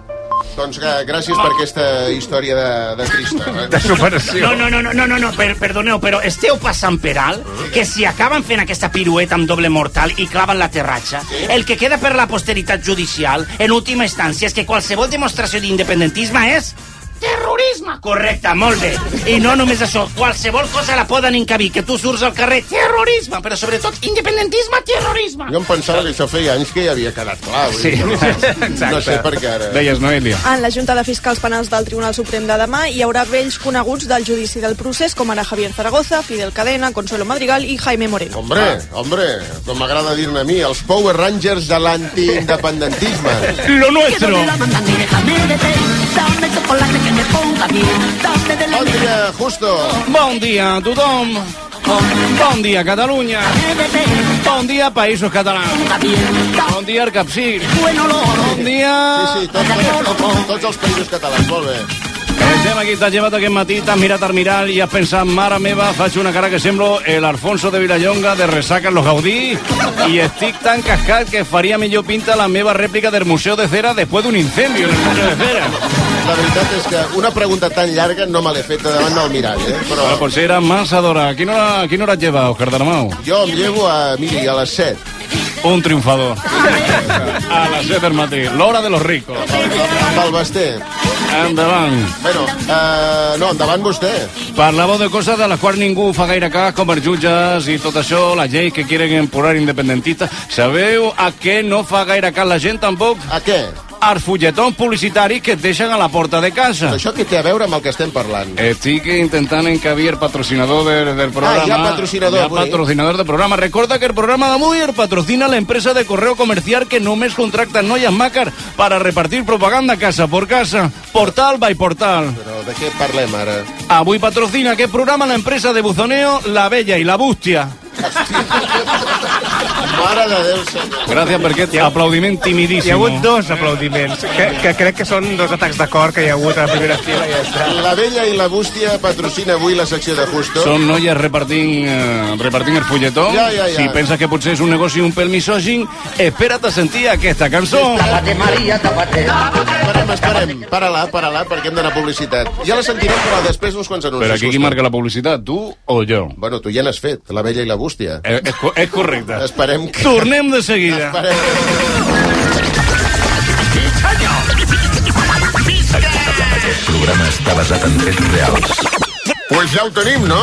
Doncs eh, gràcies per aquesta història de, de eh? Crista.
De superació.
No, no, no, no, no, no, no per, perdoneu, però esteu passant per alt que si acaben fent aquesta pirueta amb doble mortal i claven l'aterratge, el que queda per la posteritat judicial, en última instància, és que qualsevol demostració d'independentisme és terrorisme. Correcte, molt bé. I no només això, qualsevol cosa la poden encabir, que tu surts al carrer, terrorisme, però sobretot independentisme, terrorisme.
Jo em pensava que això feia anys que ja havia quedat clar. Sí, exacte. No sé per què ara...
Deies, Noelia.
En la Junta de Fiscals Penals del Tribunal Suprem de demà hi haurà vells coneguts del judici del procés, com ara Javier Zaragoza, Fidel Cadena, Consuelo Madrigal i Jaime Moreno.
Hombre, hombre, com m'agrada dir-ne a mi, els Power Rangers de l'antiindependentisme.
Lo nuestro.
Bon dia, Justo.
Bon dia a tothom. Bon dia, Catalunya. Bon dia, Països Catalans. Bon dia, Arcapsir. Bon
Sí,
dia...
sí, tots, tots, tots els països catalans, molt bé.
Estem aquí, t'has llevat aquest matí, t'has mirat al mirall i has pensat, mare meva, faig una cara que semblo el Alfonso de Vilallonga de Resaca en los Gaudí i estic tan cascat que faria millor pinta la meva rèplica del Museu de Cera després d'un incendi en el Museu de Cera.
La veritat és que una pregunta tan llarga no me l'he feta davant del mirall, eh?
Però... Però potser era massa d'hora. A Quina hora, a quina hora et lleva, Òscar Dalmau?
Jo em llevo a, miri, a les 7.
Un triomfador. a les 7 del matí. L'hora de los ricos.
Pel Basté.
Endavant.
Bueno, uh, no, endavant vostè.
Parlàveu de coses de les quals ningú fa gaire cas, com els jutges i tot això, la llei que quieren emporar independentistes. Sabeu a què no fa gaire cas la gent, tampoc?
A què?
Els fulletons publicitaris que et deixen a la porta de casa.
Això què té a veure amb el que estem parlant?
Estic intentant encabir el patrocinador del, del programa.
Ah, hi ha patrocinador
Hi ha
avui.
patrocinador del programa. Recorda que el programa d'avui el patrocina l'empresa de correu comercial que només contracta noies macar para repartir propaganda casa por casa, portal by portal.
Però de què parlem ara?
Avui patrocina aquest programa l'empresa de buzoneo La Bella i la Bústia.
Mare de Déu, senyor.
Gràcies per aquest aplaudiment timidíssim.
Hi ha hagut dos aplaudiments, que, que crec que són dos atacs de cor que hi ha hagut a la primera fila i ja està.
La Vella i la Bústia patrocina avui la secció de Justo.
Són noies repartint, eh, repartint el fulletó.
Ja, ja, ja.
Si penses que potser és un negoci un pèl misògin, espera't a sentir aquesta cançó.
Tapate, Maria, tapate. Esperem, esperem. Para-la, para-la, perquè hem d'anar a publicitat. Ja la sentirem, però després uns quants anuncis.
Però aquí qui
Justo.
marca la publicitat, tu o jo?
Bueno, tu ja n'has fet, la Vella i la Bústia.
Eh, És, co- és correcte.
Esperem que...
Tornem de seguida.
Aquest programa està basat en fets reals.
Pues ja ho tenim, no?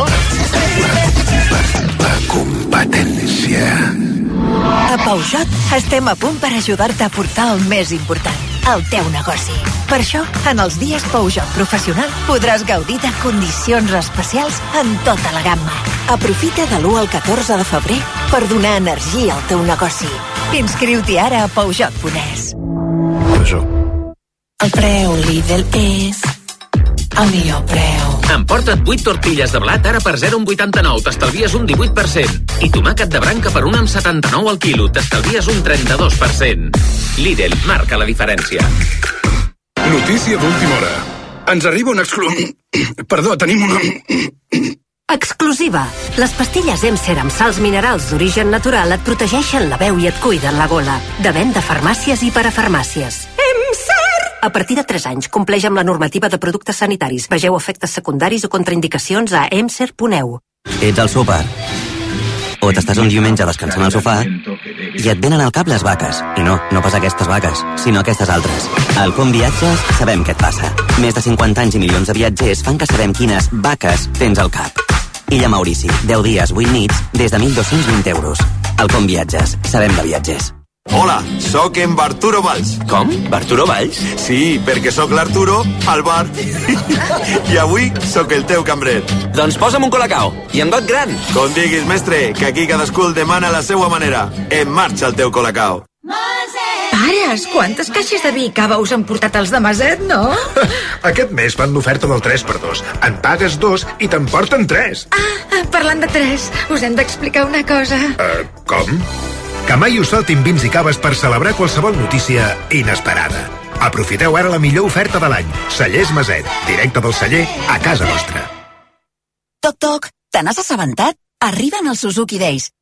La competència.
A Peugeot estem a punt per ajudar-te a portar el més important, el teu negoci. Per això, en els dies Peugeot Professional podràs gaudir de condicions especials en tota la gamma. Aprofita de l'1 al 14 de febrer per donar energia al teu negoci. Inscriu-t'hi ara a Peugeot Pones.
Això.
El preu Lidl és el millor preu.
Emporta't 8 tortilles de blat ara per 0,89, t'estalvies un 18%. I tomàquet de branca per 1,79 al quilo, t'estalvies un 32%. Lidl marca la diferència.
Notícia d'última hora. Ens arriba una exclu... Perdó, tenim una...
Exclusiva. Les pastilles Emser amb salts minerals d'origen natural et protegeixen la veu i et cuiden la gola. De venda a farmàcies i parafarmàcies. Emser! A partir de 3 anys, compleix amb la normativa de productes sanitaris. Vegeu efectes secundaris o contraindicacions a e emser.eu.
Ets al súper. O t'estàs un diumenge descansant al sofà i et venen al cap les vaques. I no, no pas aquestes vaques, sinó aquestes altres. Al Com Viatges sabem què et passa. Més de 50 anys i milions de viatgers fan que sabem quines vaques tens al cap. Illa Maurici, 10 dies, 8 nits, des de 1.220 euros. Al Com Viatges, sabem de viatgers.
Hola, sóc en Barturo Valls. Com? Barturo Valls? Sí, perquè sóc l'Arturo al bar. I avui sóc el teu cambrer. Doncs posa'm un colacao i en got gran. Com diguis, mestre, que aquí cadascú el demana a la seva manera. En marxa el teu colacao.
Pares, quantes caixes de vi i cava us han portat els de Maset, no?
Aquest mes fan l'oferta del 3x2. En pagues dos i t'emporten tres.
Ah, Parlant de tres, us hem d'explicar una cosa.
Eh, com? Que mai us faltin vins i caves per celebrar qualsevol notícia inesperada. Aprofiteu ara la millor oferta de l'any. Cellers Maset, directe del celler a casa nostra.
Toc, toc, te n'has assabentat? Arriben els Suzuki Days.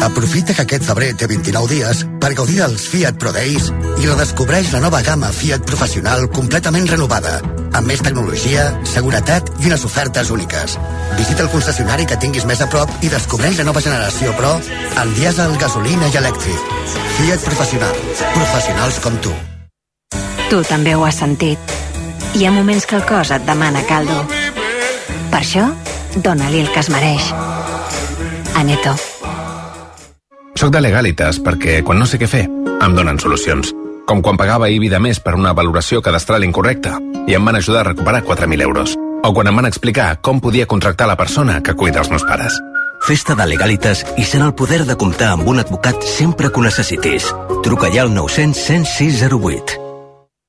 Aprofita que aquest febrer té 29 dies per gaudir dels Fiat Pro Days i redescobreix la nova gamma Fiat Professional completament renovada, amb més tecnologia, seguretat i unes ofertes úniques. Visita el concessionari que tinguis més a prop i descobreix la nova generació Pro en dièsel, gasolina i elèctric. Fiat Professional. Professionals com tu.
Tu també ho has sentit. Hi ha moments que el cos et demana caldo. Per això, dona-li el que es mereix. Aneto.
Soc de Legalitas perquè, quan no sé què fer, em donen solucions. Com quan pagava IBI de més per una valoració cadastral incorrecta i em van ajudar a recuperar 4.000 euros. O quan em van explicar com podia contractar la persona que cuida els meus pares.
Festa de Legalitas i sent el poder de comptar amb un advocat sempre que ho necessitis. Truca ja al 900 106 08.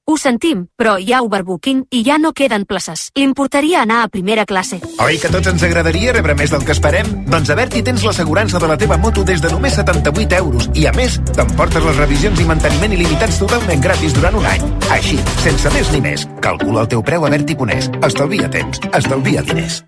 Us
ho sentim, però hi ha overbooking i ja no queden places. Li importaria anar a primera classe.
Oi que a tots ens agradaria rebre més del que esperem? Doncs a Berti tens l'assegurança de la teva moto des de només 78 euros i, a més, t'emportes les revisions i manteniment il·limitats totalment gratis durant un any. Així, sense més ni més, calcula el teu preu a Berti Conés. Estalvia temps, estalvia diners.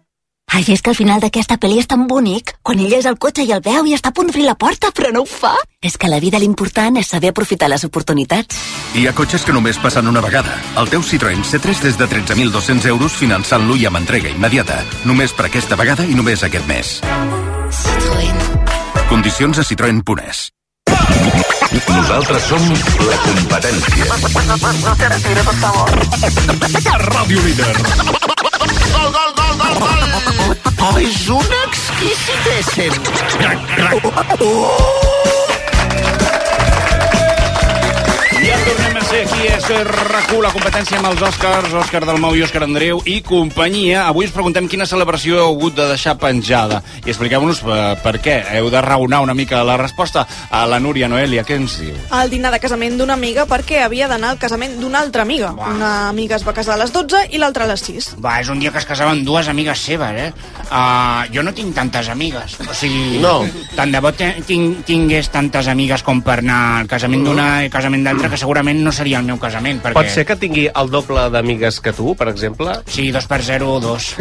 Ai, és que al final d'aquesta pel·li és tan bonic. Quan ell és al cotxe i el veu i està a punt d'obrir la porta, però no ho fa. És que a la vida l'important és saber aprofitar les oportunitats.
Hi ha cotxes que només passen una vegada. El teu Citroën C3 des de 13.200 euros finançant-lo i amb entrega immediata. Només per aquesta vegada i només aquest mes.
Citroën.
Condicions a Citroën Punès. Nosaltres som la competència.
Ràdio Líder.
Gol, gol, gol, gol, gol! Oh, és un exquisit ésser. Crac, crac.
I en tornem a ser aquí, és RAC1, la competència amb els Òscars, Òscar Dalmau i Òscar Andreu i companyia. Avui us preguntem quina celebració heu hagut de deixar penjada. I expliqueu-nos eh, per què. Heu de raonar una mica la resposta a la Núria Noelia. Què ens diu?
al dinar de casament d'una amiga perquè havia d'anar al casament d'una altra amiga. Una amiga es va casar a les 12 i l'altra a les 6.
Va, és un dia que es casaven dues amigues seves, eh? Uh, jo no tinc tantes amigues. O sigui,
No.
tant de bo te, tinc, tingués tantes amigues com per anar al casament d'una i al casament d'altra, que segurament no seria el meu casament. Perquè...
Pot ser que tingui el doble d'amigues que tu, per exemple?
Sí, dos per zero, dos.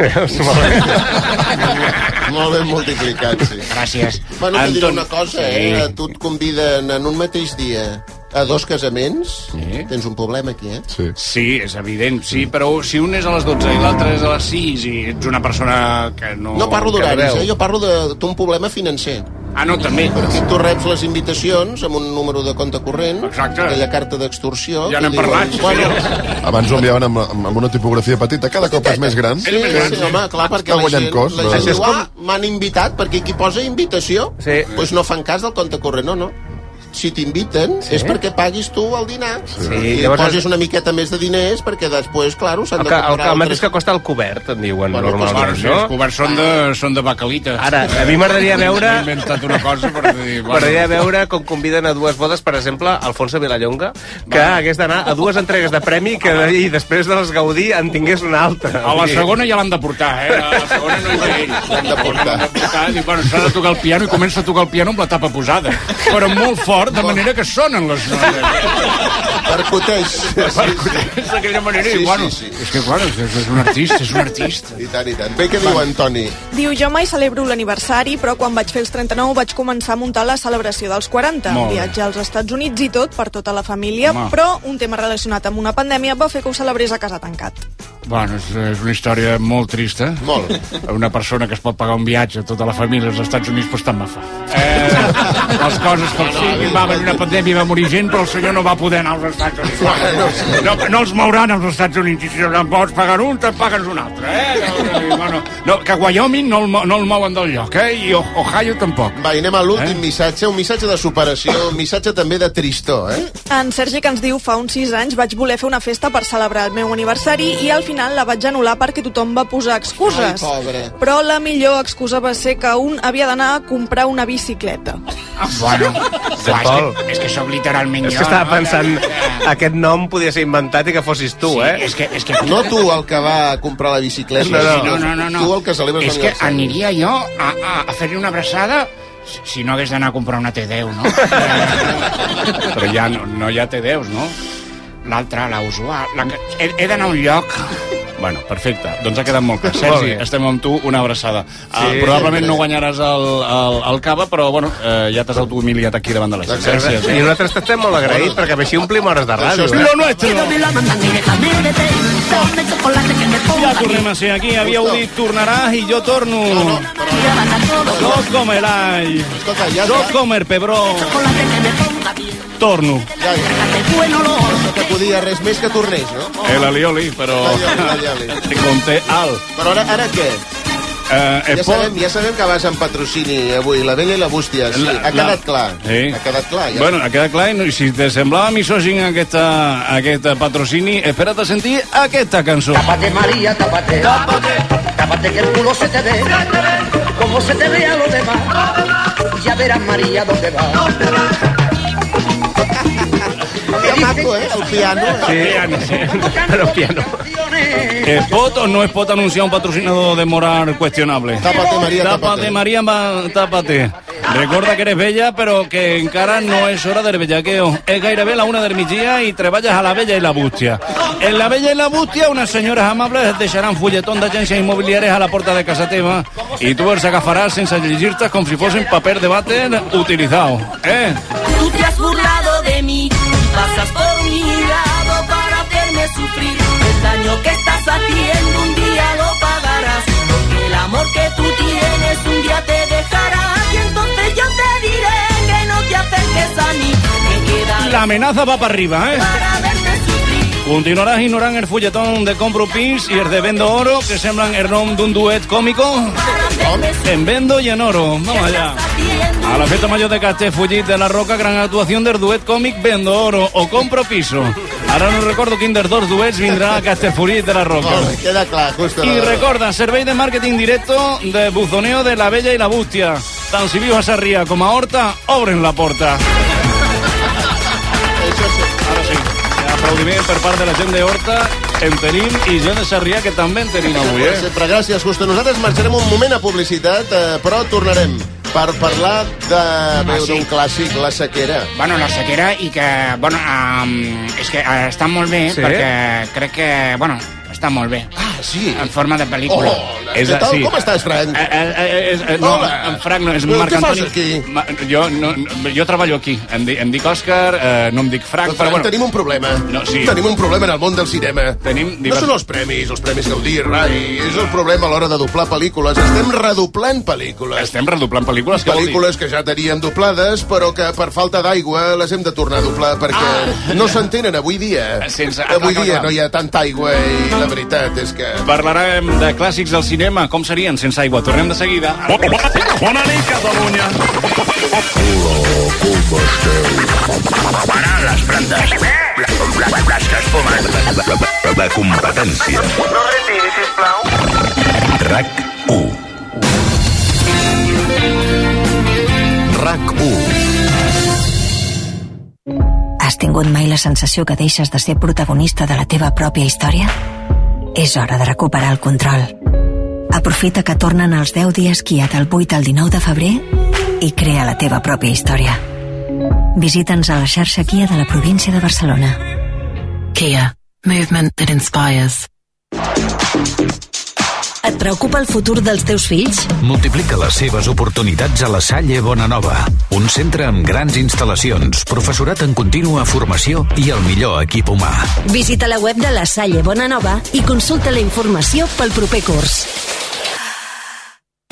Molt ben multiplicat, sí.
Gràcies.
Bueno, Anton... diré
Anton.
una cosa, eh?
Sí.
Tu et conviden en un mateix dia a dos casaments, sí. tens un problema aquí, eh?
Sí. sí, és evident, sí, però si un és a les 12 i l'altre és a les 6 i ets una persona que no...
No parlo
que
d'horaris,
veu.
eh? jo parlo de- d'un problema financer.
Ah, no, també.
Perquè tu reps les invitacions amb un número de compte corrent, Exacte. aquella carta d'extorsió...
Ja
i
n'hem
diuen,
parlat, sí,
Bueno,
Abans ho enviaven amb, amb- amb una tipografia petita, cada cop és més gran.
Sí, sí, sí, home, clar, perquè
Està
la
guanyant
gent,
cos.
la gent diu, ah, m'han invitat, perquè qui posa invitació,
Sí.
doncs no fan cas del compte corrent, no, no. Si t'inviten
Sí.
és perquè paguis tu el dinar
Sí,
i
llavors-
posis una miqueta més de diners perquè després, claro, s'han
El,
de
que, el, que,
comprar
el
altres
mateix que costa el cobert, et diuen
Bueno,
bueno, normalment,
doncs, sí,
no?
els coberts són de, són de bacalites.
Ara, a mi m'agradaria veure-
M'he inventat una cosa per dir...
M'agradaria veure com conviden a dues bodes, per exemple, Alfonso Vilallonga, que hagués d'anar a dues entregues de premi que, i després de les Gaudí en tingués una altra.
A la segona ja l'han de portar, eh? A la segona no hi va ell. L'han de portar. Diu, bueno, s'ha de tocar el piano i comença a tocar el piano amb la tapa posada. Però molt fort, de manera que sonen les eh? noies.
Percuteix.
Percuteix d'aquella manera. Sí, i, bueno, sí, sí. És que, clar, és, és un artista, és un artista.
I tant, i tant. Bé, què diu en Toni?
Diu, jo mai celebro l'aniversari, però quan vaig fer els 39 vaig començar a muntar la celebració dels 40.
Molt bé.
Viatge als Estats Units i tot, per tota la família,
Home.
però un tema relacionat amb una pandèmia va fer que ho celebrés a casa tancat.
Bueno, és, és una història molt trista.
Molt.
Una persona que es pot pagar un viatge a tota la família als Estats Units, doncs tant me fa. Eh, les coses com siguin, va venir una pandèmia i va morir gent, però el senyor no va poder anar als Estats Units. No, no els mouran als Estats Units, i si en vols pagar un, te'n pagues un altre, eh? No, no, no, no, que Wyoming no el, mo- no el mouen del lloc, eh? I O- Ohio tampoc.
Va, i anem a l'últim eh? missatge, un missatge de superació, un missatge també de tristor, eh?
En Sergi, que ens diu, fa uns 6 anys vaig voler fer una festa per celebrar el meu aniversari i al final la vaig anul·lar perquè tothom va posar excuses.
Ai, pobre.
Però la millor excusa va ser que un havia d'anar a comprar una bicicleta.
Ah,
Bueno,
De
clar,
Pol.
és que, és que sóc literalment
És
jo.
que estava
no?
pensant, aquest nom podia ser inventat i que fossis tu,
Sí,
eh?
és que- és que-
No tu el que va comprar la bicicleta,
No, no, no, no, no.
tu el que celebres
És que
l'aniversari.
aniria jo a, a, a fer-li una abraçada si- si no hagués d'anar a comprar una T10, no?
Però ja no, no hi ha T10s, no?
L'altra, la usual. La que... He, he d'anar a un lloc...
Bueno, perfecte. Doncs ha quedat molt clar.
Molt
Sergi,
bé.
estem amb tu, una abraçada. Sí, uh,
Sí,
probablement
sempre.
no guanyaràs el, el, el cava, però bueno, uh, ja t'has autohumiliat aquí davant de la gent.
Exacte.
Gràcies.
eh?
I nosaltres t'estem molt agraïts perquè així omplim hores de
Això
ràdio. eh?
és lo nuestro.
Ja
tornem a ser aquí, havíeu dit tornaràs i jo torno. No, no com el all, no com el pebró. Torno.
Ja, ja. No t'acudia res més que tornés, no?
El alioli, però... Com té al.
Però ara, ara què?
Eh,
Ja sabem, ja sabem que vas en patrocini avui, la vella i la bústia, sí,
La-
ha quedat
la-
clar.
Sí.
Ha quedat clar, ja.
Bueno, ha quedat clar, i no- i si te semblava misògin aquesta, aquest patrocini, espera't a sentir aquesta cançó.
Tápate María, tápate. Tápate. Tápate que el culo se te ve. Como se te ve a los demás. Ya verás María dónde va. Que dicen
piano, eh? El piano.
Sí. Pero piano. Eh, ¿Pot o no es pot anunciar un patrocinador de moral cuestionable?
Tápate, María,
Tápate,
tápate.
María, ma- tápate. Recorda que eres bella, pero que encara no és hora del bellaqueo. És gairebé la una del migdia i treballes a la vella i la bústia. En la vella i la bústia, unes senyores amables et deixaran fulletón d'agències immobiliàries a la porta de casa teva i tu els agafaràs sense llegir-te com si fossin paper de vàter utilitzat. Eh?
Tú te has burlado de mí, pasas por mi lado para hacerme sufrir. El daño que estás haciendo un día lo pagarás, porque el amor que tú tienes un día te dejará. Y entonces yo te diré que no te acerques a mí, que quedaré
La amenaza va para arriba, eh?
para verte sufrir.
Continuaràs ignorant el fulletón de Compro Pins i el de Vendo Oro, que semblan el nom d'un duet còmico en Vendo i en Oro. Vamos allá. A la festa major de Castellfollit de la Roca, gran actuación del duet còmic Vendo Oro o Compro Piso. Ara no recordo quin dels dos duets vindrà a Castellfollit de la Roca.
Molt bé, queda clar, justo.
I recorda, servei de màrqueting directo de buzoneo de la Bella i la Bústia. Tant si vius a Sarrià com a Horta, obren la porta. Ara sí. Aplaudiment per part de la gent de Horta, en tenim, i jo de Sarrià, que també en tenim avui, eh?
Sempre, gràcies, Justo. Nosaltres marxarem un moment a publicitat, eh, però tornarem per parlar de... Bé, d'un clàssic, la sequera.
Bueno, la sequera i que, bueno, um, és que eh, està molt bé
Sí?
sí? perquè crec que, bueno, està molt bé. Ah,
sí?
En forma de pel·lícula.
Hola, què tal? Com estàs, Frank?
Eh, eh, eh, és, eh, no,
Hola.
en Frank no, és
Però
Marc
què fas
Antoni. aquí? Ma, jo, no, no, jo treballo aquí. Em, di, em dic Òscar, eh, no em dic Frank,
Però,
però, però bueno...
tenim un problema.
No, sí.
Tenim un problema en el món del cinema.
Tenim
No són els premis, els premis Gaudí, Rai. És el problema a l'hora de doblar pel·lícules. Estem redoblant pel·lícules.
Estem redoblant pel·lícules, què vol dir?
Pel·lícules que ja teníem doblades, però que per falta d'aigua les hem de tornar a doblar, perquè ah. no s'entenen avui dia.
Sense-
Avui
clar, clar,
dia
clar.
no hi ha tanta aigua i la veritat és que...
Parlarem de clàssics del cinema, com serien sense aigua. Tornem de seguida. Bona nit, Catalunya!
Parar les brandes. Les que es fumen. La, competència.
No retiri, sisplau.
RAC1. RAC1.
Has tingut mai la sensació que deixes de ser protagonista de la teva pròpia història? És hora de recuperar el control. Aprofita que tornen els 10 dies Kia del 8 al 19 de febrer i crea la teva pròpia història. Visita'ns a la xarxa Kia de la província de Barcelona.
Kia. Movement that inspires.
Et preocupa el futur dels teus fills?
Multiplica les seves oportunitats a la Salle Bonanova, un centre amb grans instal·lacions, professorat en contínua formació i el millor equip humà.
Visita la web de la Salle Bonanova i consulta la informació pel proper curs.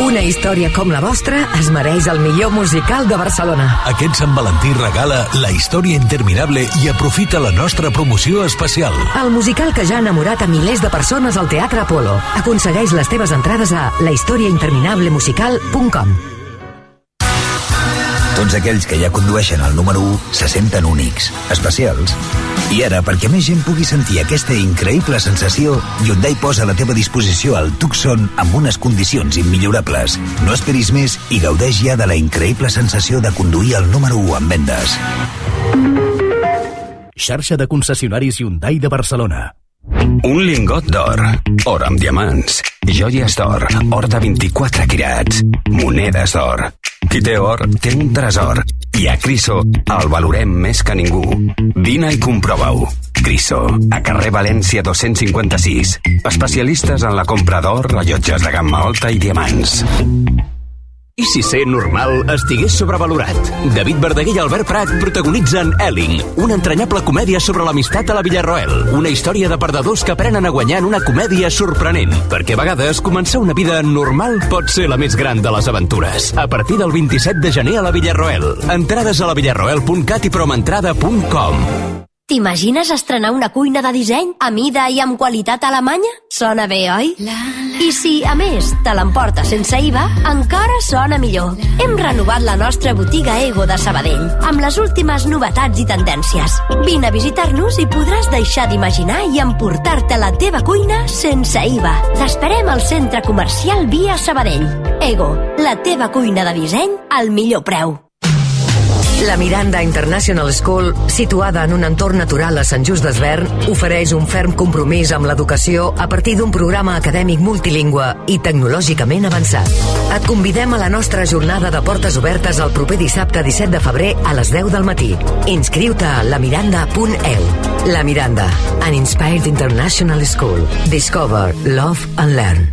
Una història com la vostra es mereix el millor musical de Barcelona.
Aquest Sant Valentí regala la història interminable i aprofita la nostra promoció especial.
El musical que ja ha enamorat a milers de persones al Teatre Apolo. Aconsegueix les teves entrades a lahistoriainterminablemusical.com
Tots aquells que ja condueixen el número 1 se senten únics, especials. I ara, perquè més gent pugui sentir aquesta increïble sensació, Hyundai posa a la teva disposició el Tucson amb unes condicions immillorables. No esperis més i gaudeix ja de la increïble sensació de conduir el número 1 en vendes.
Xarxa de concessionaris Hyundai de Barcelona.
Un lingot d'or, or amb diamants, joies d'or, or de 24 quirats, monedes d'or. Qui té or té un tresor i a Criso el valorem més que ningú. Vine i comprova-ho. Criso, a carrer València 256. Especialistes en la compra d'or, rellotges de gamma alta i diamants.
I si ser normal estigués sobrevalorat? David Verdaguer i Albert Prat protagonitzen Elling, una entranyable comèdia sobre l'amistat a la Villarroel. Una història de perdedors que aprenen a guanyar en una comèdia sorprenent, perquè a vegades començar una vida normal pot ser la més gran de les aventures. A partir del 27 de gener a la Villarroel. Entrades a la villarroel.cat i promentrada.com
T'imagines estrenar una cuina de disseny a mida i amb qualitat alemanya? Sona bé, oi? I si, a més, te l'emporta sense IVA, encara sona millor. Hem renovat la nostra botiga Ego de Sabadell amb les últimes novetats i tendències. Vine a visitar-nos i podràs deixar d'imaginar i emportar-te la teva cuina sense IVA. T'esperem al centre comercial Via Sabadell. Ego, la teva cuina de disseny al millor preu.
La Miranda International School, situada en un entorn natural a Sant Just d'Esvern, ofereix un ferm compromís amb l'educació a partir d'un programa acadèmic multilingüe i tecnològicament avançat. Et convidem a la nostra jornada de portes obertes el proper dissabte 17 de febrer a les 10 del matí. Inscriu-te a lamiranda.eu. La Miranda, an inspired international school. Discover, love and learn.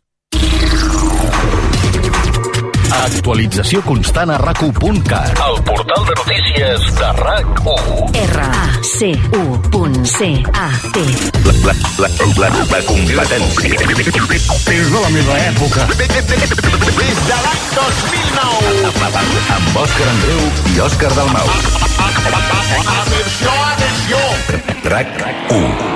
Actualització constant a rac1.cat. El portal de notícies de RAC1.
R A C U punt C A T
La, la, la, la, la competència.
És de la meva època.
Des de l'any 2009.
Amb Òscar Andreu i Òscar Dalmau.
Atenció, atenció.
RAC1.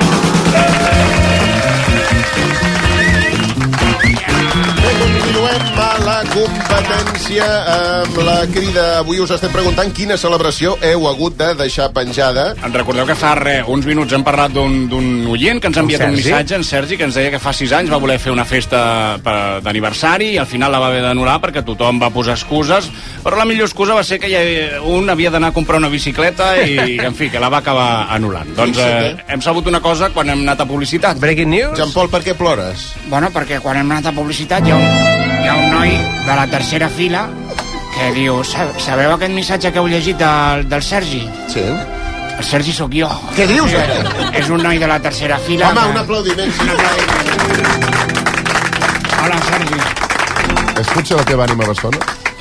Bé, continuem a la competència amb la crida. Avui us estem preguntant quina celebració heu hagut de deixar penjada.
En recordeu que fa re, uns minuts hem parlat d'un d'un oient que ens ha
En
enviat un
Sergi?
missatge, en Sergi, que ens deia que fa sis anys va voler fer una festa per- d'aniversari i al final la va haver d'anul·lar perquè tothom va posar excuses, però la millor excusa va ser que ja un havia d'anar a comprar una bicicleta i, en fi, que la va acabar anul·lant. Doncs eh,
Fixa't,
hem sabut una cosa quan hem anat a publicitat.
Breaking news.
Jean-Paul, per què plores?
Bueno, perquè quan hem anat a publicitat hi ha un, hi ha un noi de la tercera fila que diu, "Sa- sabeu aquest missatge que heu llegit del, del Sergi?
Sí.
El Sergi sóc jo.
Què dius,
Sí,
ara?
És un noi de la tercera fila.
Home,
que-
un aplaudiment. Sí.
Hola, Sergi.
És potser la teva ànima bessona?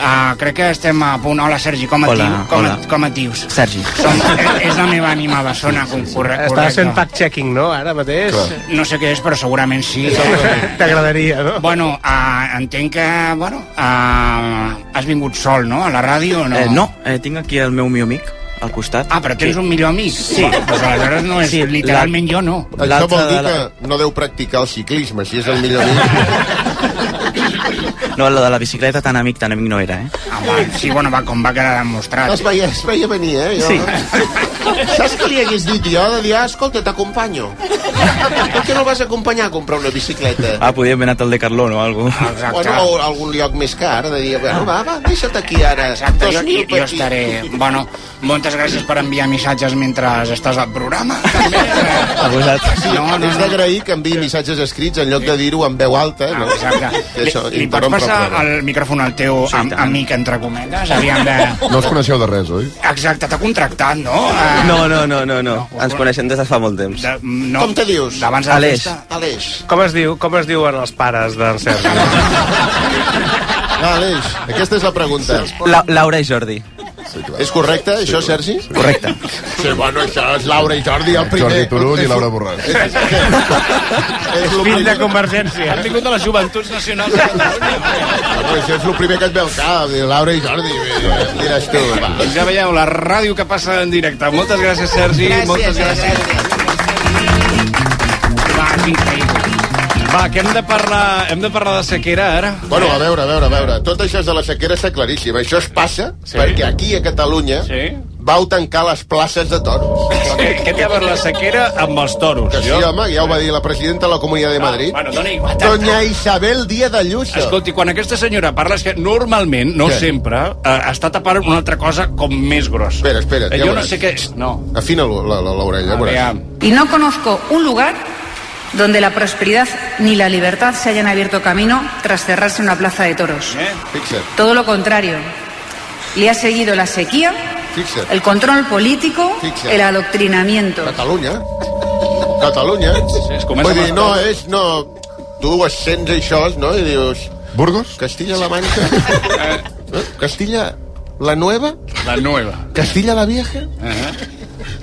Ah, crec que estem a punt. Hola, Sergi, com et,
Hola,
diu? Com,
hola.
Et, com et dius?
Sergi.
Som, eh, és, és la meva ànima bessona, com corre,
Estàs
correcte.
fent fact-checking, no, ara mateix? Clar.
No sé què és, però segurament sí.
T'agradaria, no?
Bueno, uh, entenc que, bueno, uh, has vingut sol, no?, a la ràdio o no?
Eh, no, eh, tinc aquí el meu millor amic al costat.
Ah, però tens un millor amic?
Sí.
Pues aleshores no és,
Sí,
literalment jo no.
Això vol dir que no deu practicar el ciclisme, si és el millor amic.
No, la de la bicicleta tan amic, tan amic no era, eh?
Home, sí, bueno, Ah, va, com va quedar demostrat.
Es veia, es veia venir, eh? Jo. Sí. Saps què li hagués dit jo? De dir, "Ah, escolta, t'acompanyo. Per què no el vas acompanyar a comprar una bicicleta?
Ah, podíem haver anat al de Carlón o alguna cosa.
Bueno, o a algun lloc més car, de dir, bueno, va, va, deixa't aquí ara.
Exacte, Doncs jo,
Dos mil
jo
per aquí.
estaré... Bueno, moltes gràcies per enviar missatges mentre estàs al programa. Ah,
A vosaltres. Sí,
No,
no,
no,
no, és d'agrair que enviï missatges escrits en lloc de dir-ho en veu alta. Ah, No?
Exacte.
Que això
Li, li pots
interromp el
passar
programa.
el micròfon al teu am, amic, entre cometes? Aviam de...
No us coneixeu de res, oi?
Exacte, t'ha contractat, no? Eh,
No, no, no, no, no. Ens coneixem des de fa molt temps.
De, no.
Com te dius?
D'abans de la
Aleix.
festa?
Aleix.
Com es diu, com es diuen els pares d'en Sergi?
Ah, Aleix, aquesta és la pregunta.
La, Laura i Jordi.
És correcte, això, Sergi?
Correcte.
Sí, bueno, això és Laura i Jordi, el primer.
Jordi Turull i Laura Borràs.
Fill de Convergència.
Han vingut de les joventuts nacionals.
Però això és el primer que et ve al cap, diu, Laura i Jordi. bé, Diràs tu, va.
Doncs ja veieu, la ràdio que passa en directe. Moltes gràcies, Sergi.
Gràcies,
moltes gràcies.
Va, és increïble.
Ah, Va, que hem de parlar, hem de parlar de sequera, ara.
Bueno, a veure, a veure, a veure. Tot això és de la sequera està claríssim. Això es passa sí. perquè aquí a Catalunya sí. vau tancar les places de toros.
Què, què té a veure la sequera amb els toros?
Que sí, home, ja ho va dir la presidenta de la Comunitat de Madrid.
Ah, Bueno, dona igual.
Doña Isabel Díaz de Lluço.
Escolti, quan aquesta senyora parla, és que normalment, no
Què?
què? sempre, eh, està tapant una altra cosa com més grossa.
Espera, espera,
Eh,
ja
jo
veuràs.
no sé Ah, què és. No.
Afina l'o- la- la- l'orella, ja veuràs.
Y no conozco un lugar donde la prosperidad ni la libertad se hayan abierto camino tras cerrarse una plaza de toros.
Eh?
Fixa't,
Todo lo contrario. Le ha seguido la sequía,
fixa't.
el control político,
Fixa.
el adoctrinamiento.
Catalunya. Catalunya.
es
comença amb
Vull dir,
les
no, eh,
coses.
és... No, tu ho sents això, no? I dius... Burgos? Castilla-La Mancha.
Eh.
Castilla la nueva.
La nueva.
Castilla la vieja.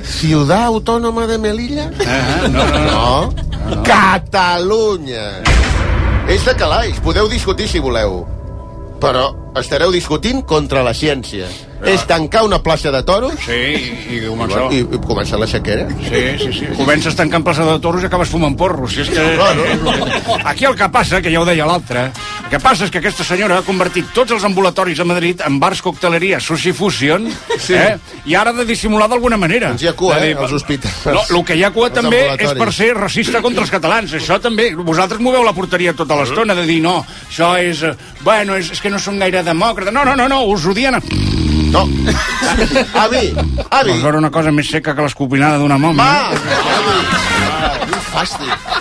Ciudad autónoma de Melilla.
Ah, Uh-huh. no, no, no.
Catalunya. És de calaix, podeu discutir si voleu. Però estareu discutint contra la ciència. És tancar una plaça de toros...
Sí, i, i començar...
I, i començar la sequera.
Sí, sí, sí. Comences tancant plaça de toros i acabes fumant porros. Si és que... Aquí el que passa, que ja ho deia l'altre, el que passa és que aquesta senyora ha convertit tots els ambulatoris a Madrid en bars, cocteleria, sushi fusion,
Sí.
sí. eh? i ara ha de dissimular d'alguna manera. Doncs
hi ha cua, eh, als hospitals.
No, el que hi ha cua
Els
també és
ambulatoris.
per ser racista contra els catalans. Això també. Vosaltres moveu la porteria tota l'estona de dir, no, això és... eh, Bueno, és, és que no són gaire demòcrates. No, no, no, no, us odien... A...
No. Avi, avi.
Vols Doncs veure una cosa més seca que l'escopinada d'una moma?
Va! Quin fàstic.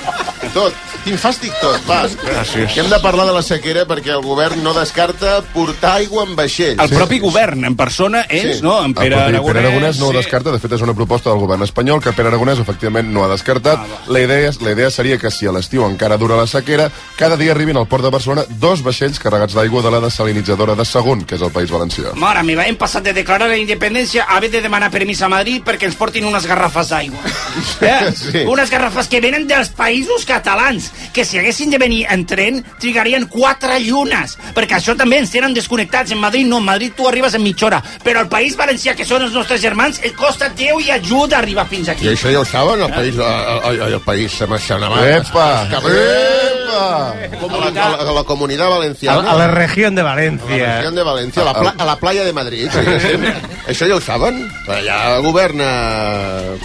Tot. Quin fàstic tot, va.
Gràcies.
Que hem de parlar de la sequera perquè el govern no descarta portar aigua en vaixell.
El propi govern, en persona, és,
Sí.
no? En Pere
el propi
Aragonès...
Ah, Pere Aragonès no ho
sí.
descarta, de fet és una proposta del govern espanyol que Pere Aragonès efectivament no
Ah,
ha descartat. la, idea, la idea seria que si a l'estiu encara dura la sequera, cada dia arribin al port de Barcelona dos vaixells carregats d'aigua de la desalinitzadora de Segon, que és el País Valencià.
Mare meva, hem passat de declarar la independència a haver de demanar permís a Madrid perquè ens portin unes garrafes d'aigua. Eh?
Sí.
Unes garrafes que venen dels països catalans, que si haguessin de venir en tren trigarien quatre llunes, perquè això també ens tenen desconnectats. En Madrid no, en Madrid tu arribes en mitja hora, però al País Valencià, que són els nostres germans, et costa Déu i ajuda a arribar fins aquí.
I això ja ho saben, el país, el, el, el país se m'aixanava.
Epa!
Epa! A la, a la comunitat
A,
valenciana.
a la regió de València.
Región de València, a la, pla a la playa de Madrid. Sí, sí. Això ja ho saben. Allà governa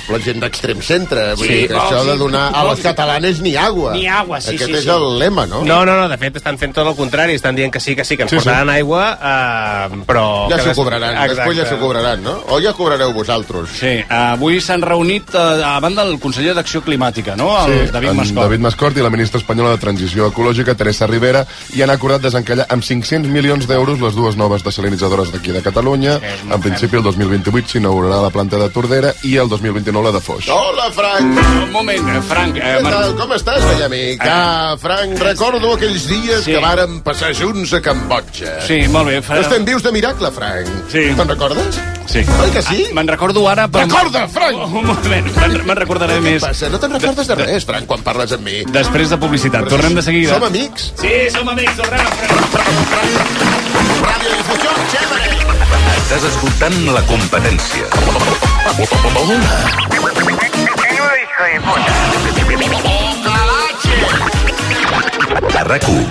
la gent d'extrem centre. Vull
Sí,
dir que
oh,
això
sí.
de donar a les catalanes ni agua.
Ni agua, sí,
Aquest
sí,
és
sí.
el lema, no?
No, no, no, de fet estan fent tot el contrari, estan dient que sí, que sí, que ens
Sí,
sí,
sí.
portaran aigua, eh, però...
Ja
que
s'ho
des-
cobraran,
Exacte.
després ja s'ho cobraran, no? O ja cobrareu vosaltres.
Sí, avui s'han reunit eh, a banda del conseller d'Acció Climàtica, no? El David
en
Mascó.
David Mascort i la ministra espanyola de Transició Ecològica, Teresa Rivera, i han acordat desencallar amb 500 milions d'euros les dues noves desalinitzadores d'aquí de Catalunya. En principi, el 2028 s'inaugurarà la planta de Tordera i el 2029 la de Foix.
Hola, Frank.
Un moment, eh, Franc. Eh,
Què tal?
Mar-
Com estàs, vell amic? Ah, Frank, recordo aquells dies que vàrem passar junts a Cambotja.
Sí, molt bé, Frank.
Estem vius de miracle, Frank.
Sí.
Te'n recordes?
Sí.
Oi que sí?
Ah, Me'n recordo ara... Però... Oh,
Recorda, Frank!
Un moment, me'n me'n recordaré
Què
més.
passa? No te'n recordes de res, Frank, quan parles amb mi.
Després de publicitat. Tornem de seguida.
Som amics?
Sí, som amics, tornem.
Estàs escoltant la competència. A RAC1.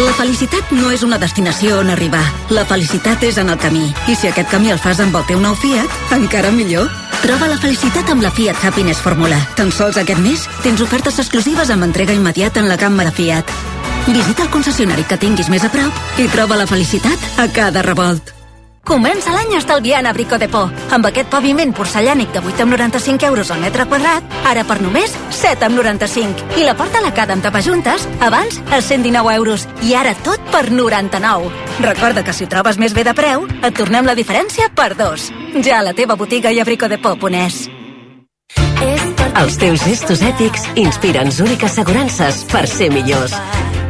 La felicitat no és una destinació on arribar. La felicitat és en el camí. I si aquest camí el fas amb el teu nou Fiat, encara millor. Troba la felicitat amb la Fiat Happiness Fórmula. Tan sols aquest mes tens ofertes exclusives amb entrega immediata en la gamma de Fiat. Visita el concessionari que tinguis més a prop i troba la felicitat a cada revolt.
Comença l'any estalviant a Brico de Po. Amb aquest paviment porcellànic de 8,95 euros al metre quadrat, ara per només 7,95. I la porta a la cada amb tapajuntes, abans a 119 euros. I ara tot per 99. Recorda que si ho trobes més bé de preu, et tornem la diferència per dos. Ja a la teva botiga i a Brico de Po, ponés.
Els teus gestos ètics inspiren Zurich Assegurances per ser millors.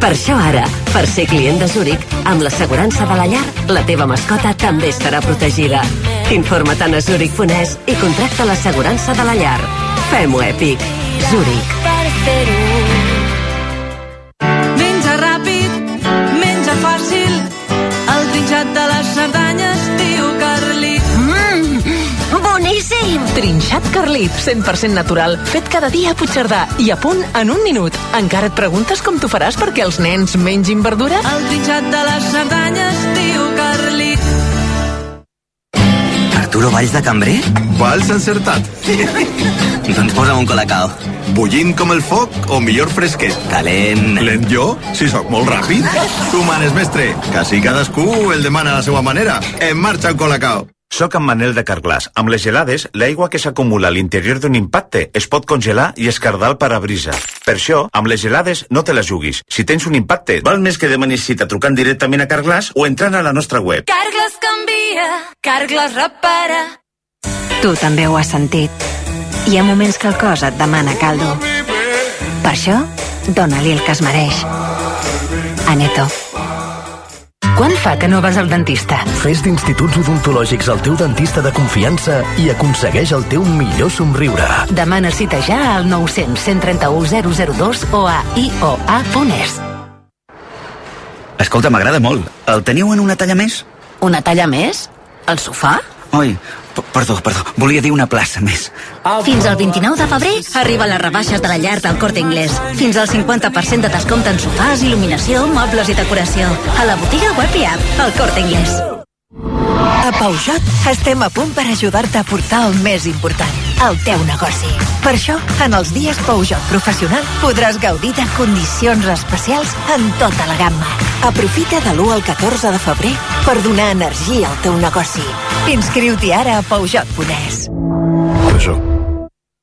Per això ara, per ser client de Zurich, amb l'assegurança de la llar, la teva mascota també estarà protegida. Informa-te'n a Zurich Fonès i contracta l'assegurança de la llar. Fem-ho èpic. Zurich.
Menja ràpid, menja fàcil, el trinxat de les Cerdanyes, tio Carlit.
Mmm, boníssim! Trinxat Carlit, 100% natural, fet cada dia a Puigcerdà i a punt en un minut. Encara et preguntes com t'ho faràs perquè els nens mengin verdura?
El trinxat de les Cerdanyes, tio Carlit.
Arturo Valls de Cambrer? Valls encertat. doncs posa'm un colacao. Bullint com el foc o millor fresquet? Calent. Lent jo? Si sóc molt ràpid. Tu manes, mestre. Quasi cadascú el demana a la seva manera. En marxa un colacao.
Soc en Manel de Carglass. Amb les gelades, l'aigua que s'acumula a l'interior d'un impacte es pot congelar i escardar el parabrisa. Per això, amb les gelades no te les juguis. Si tens un impacte, val més que demanis cita trucant directament a Carglass o entrant a la nostra web.
Cargles canvia, Cargles repara.
Tu també ho has sentit. Hi ha moments que el cos et demana caldo. Per això, dona-li el que es mereix. Aneto.
Quan fa que no vas al dentista?
Fes d'Instituts Odontològics el teu dentista de confiança i aconsegueix el teu millor somriure.
Demana cita ja al 900 131 002 o a ioa.es.
Escolta, m'agrada molt. El teniu en una talla més?
Una talla més? El sofà?
Oi, p- perdó, perdó. Volia dir una plaça més.
Fins al 29 de febrer arriben les rebaixes de la llar del Corte Inglés. Fins al 50% de descompte en sofàs, il·luminació, mobles i decoració. A la botiga web i app, el Corte Inglés.
A Peugeot estem a punt per ajudar-te a portar el més important, el teu negoci. Per això, en els dies Peugeot Professional podràs gaudir de condicions especials en tota la gamma. Aprofita de l'1 al 14 de febrer per donar energia al teu negoci. Inscriu-t'hi ara a Peugeot Podes.
Això.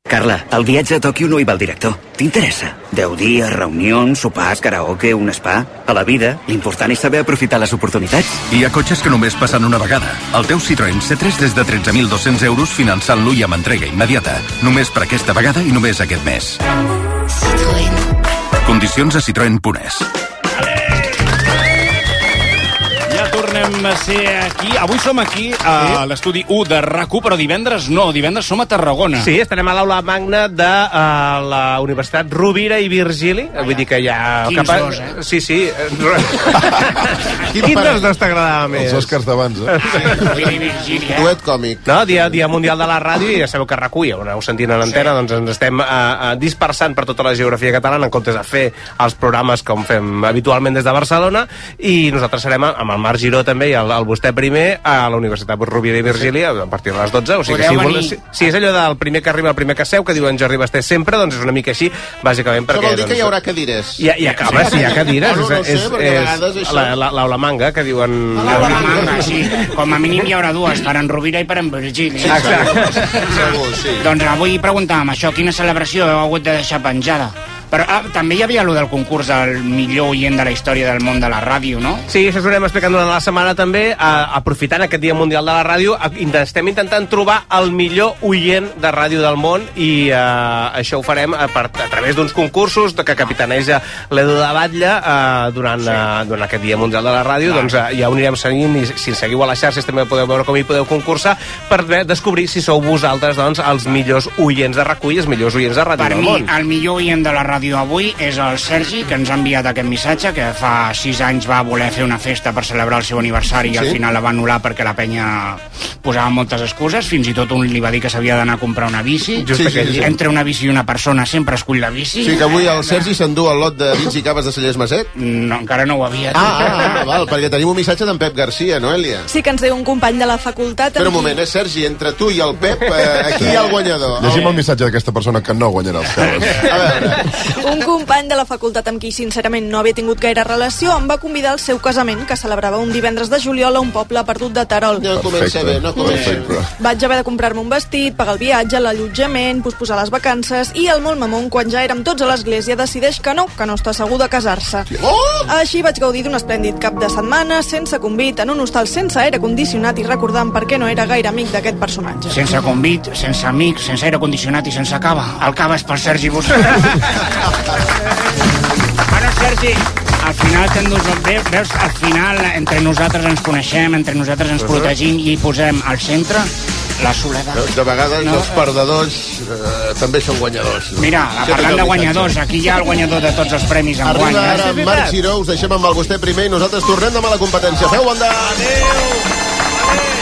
Carla, el viatge a Tòquio no hi va el director. T'interessa? Deu dies, reunions, sopars, karaoke, un spa... A la vida, l'important és saber aprofitar les oportunitats.
Hi ha cotxes que només passen una vegada. El teu Citroën C3 des de 13.200 euros finançant-lo i amb entrega immediata. Només per aquesta vegada i només aquest mes. Condicions a Citroën Punès.
Ja tornem a ser aquí. Avui som aquí a l'estudi 1 de rac però divendres no. Divendres som a Tarragona.
Sí, estarem a l'aula magna de uh, la Universitat Rovira i Virgili. Vull dir que hi ha...
Ah, Quins
a-
dos, eh?
Sí, sí. Quin dels dos t'agradava més?
Els Oscars d'abans, eh?
eh?
Duet còmic. No, dia, dia Mundial de la Ràdio i ja sabeu que recull, on heu sentit en antena, doncs ens estem uh, uh, dispersant per tota la geografia catalana en comptes de fer els programes com fem habitualment des de Barcelona i nosaltres serem a- amb el Marc Giró també i el, el vostè primer a la Universitat Rovira i Virgili a partir de les 12. O sigui que
Podeu
si,
venir.
si, si és allò del primer que arriba, el primer que seu, que diuen Jordi Basté sempre, doncs és una mica així, bàsicament perquè...
Això vol dir
doncs,
que hi haurà cadires.
i, i acaba, sí, ja que diràs.
Bueno, no ho sé,
és,
perquè a
és,
vegades
és
això-
la, la, l'aula manga, que diuen...
L'aula manga, sí. Com a mínim hi haurà dues, per en Rovira i per en Virgili.
Exacte.
Doncs avui preguntàvem això, quina celebració heu hagut de deixar penjada? Però ah, també hi havia allò del concurs del millor oient de la història del món de la ràdio, no?
Sí, això us ho anem explicant durant la setmana també, eh, aprofitant aquest Dia Mundial de la Ràdio, a- int- estem intentant trobar el millor oient de ràdio del món i eh, això ho farem a, per, a través d'uns concursos de- que capitaneja l'Edu de Batlle eh, durant, eh, durant aquest Dia Mundial de la Ràdio,
Clar.
doncs eh, ja ho anirem seguint i si ens seguiu a les xarxes també podeu veure com hi podeu concursar per ve- descobrir si sou vosaltres doncs, els millors oients de recull, els millors oients de ràdio
Per
del
mi,
món.
el millor oient de la ràdio avui és el Sergi, que ens ha enviat aquest missatge, que fa sis anys va voler fer una festa per celebrar el seu aniversari i al
Sí.
final la va anul·lar perquè la penya posava moltes excuses, fins i tot un li va dir que s'havia d'anar a comprar una bici.
Just Sí, sí, aquell sí. dia.
Entre una bici i una persona sempre escull la bici.
O sigui que avui
eh,
el Sergi s'endú el lot de vins i caves de Cellers Maset?
No, encara no ho havia.
Ah, ah, ah, val, perquè tenim un missatge d'en Pep Garcia, no, Elia?
Sí que ens diu un company de la facultat...
Espera un moment, eh, Sergi, entre tu i el Pep, eh, aquí hi ha el guanyador.
Llegim el missatge d'aquesta persona que no guanyarà els cables.
Un company de la facultat amb qui sincerament no havia tingut gaire relació em va convidar al seu casament que celebrava un divendres de juliol a un poble perdut de Terol.
No comença bé, no comença bé.
Vaig haver de comprar-me un vestit, pagar el viatge, l'allotjament, posposar les vacances i el molt mamon, quan ja érem tots a l'església, decideix que no, que no està segur de casar-se.
Oh!
Així vaig gaudir d'un esplèndid cap de setmana, sense convit, en un hostal sense aire condicionat i recordant per què no era gaire amic d'aquest personatge.
Sense convit, sense amics, sense aire condicionat i sense cava. El cava és per Sergi Busquets. Bueno, Sergi, al final t'endús... Ve- Veus, al final, entre nosaltres ens coneixem, entre nosaltres ens protegim i posem al centre la soledat.
De vegades
No,
els perdedors eh, també són guanyadors. No?
Mira,
Sempre hi ha
parlant de
un
guanyadors,
missatge.
aquí hi ha el guanyador de tots els premis en guany. eh?
Arriba ara en Marc Giró, us deixem amb el vostè primer i nosaltres tornem demà a la competència. Feu banda! Adéu!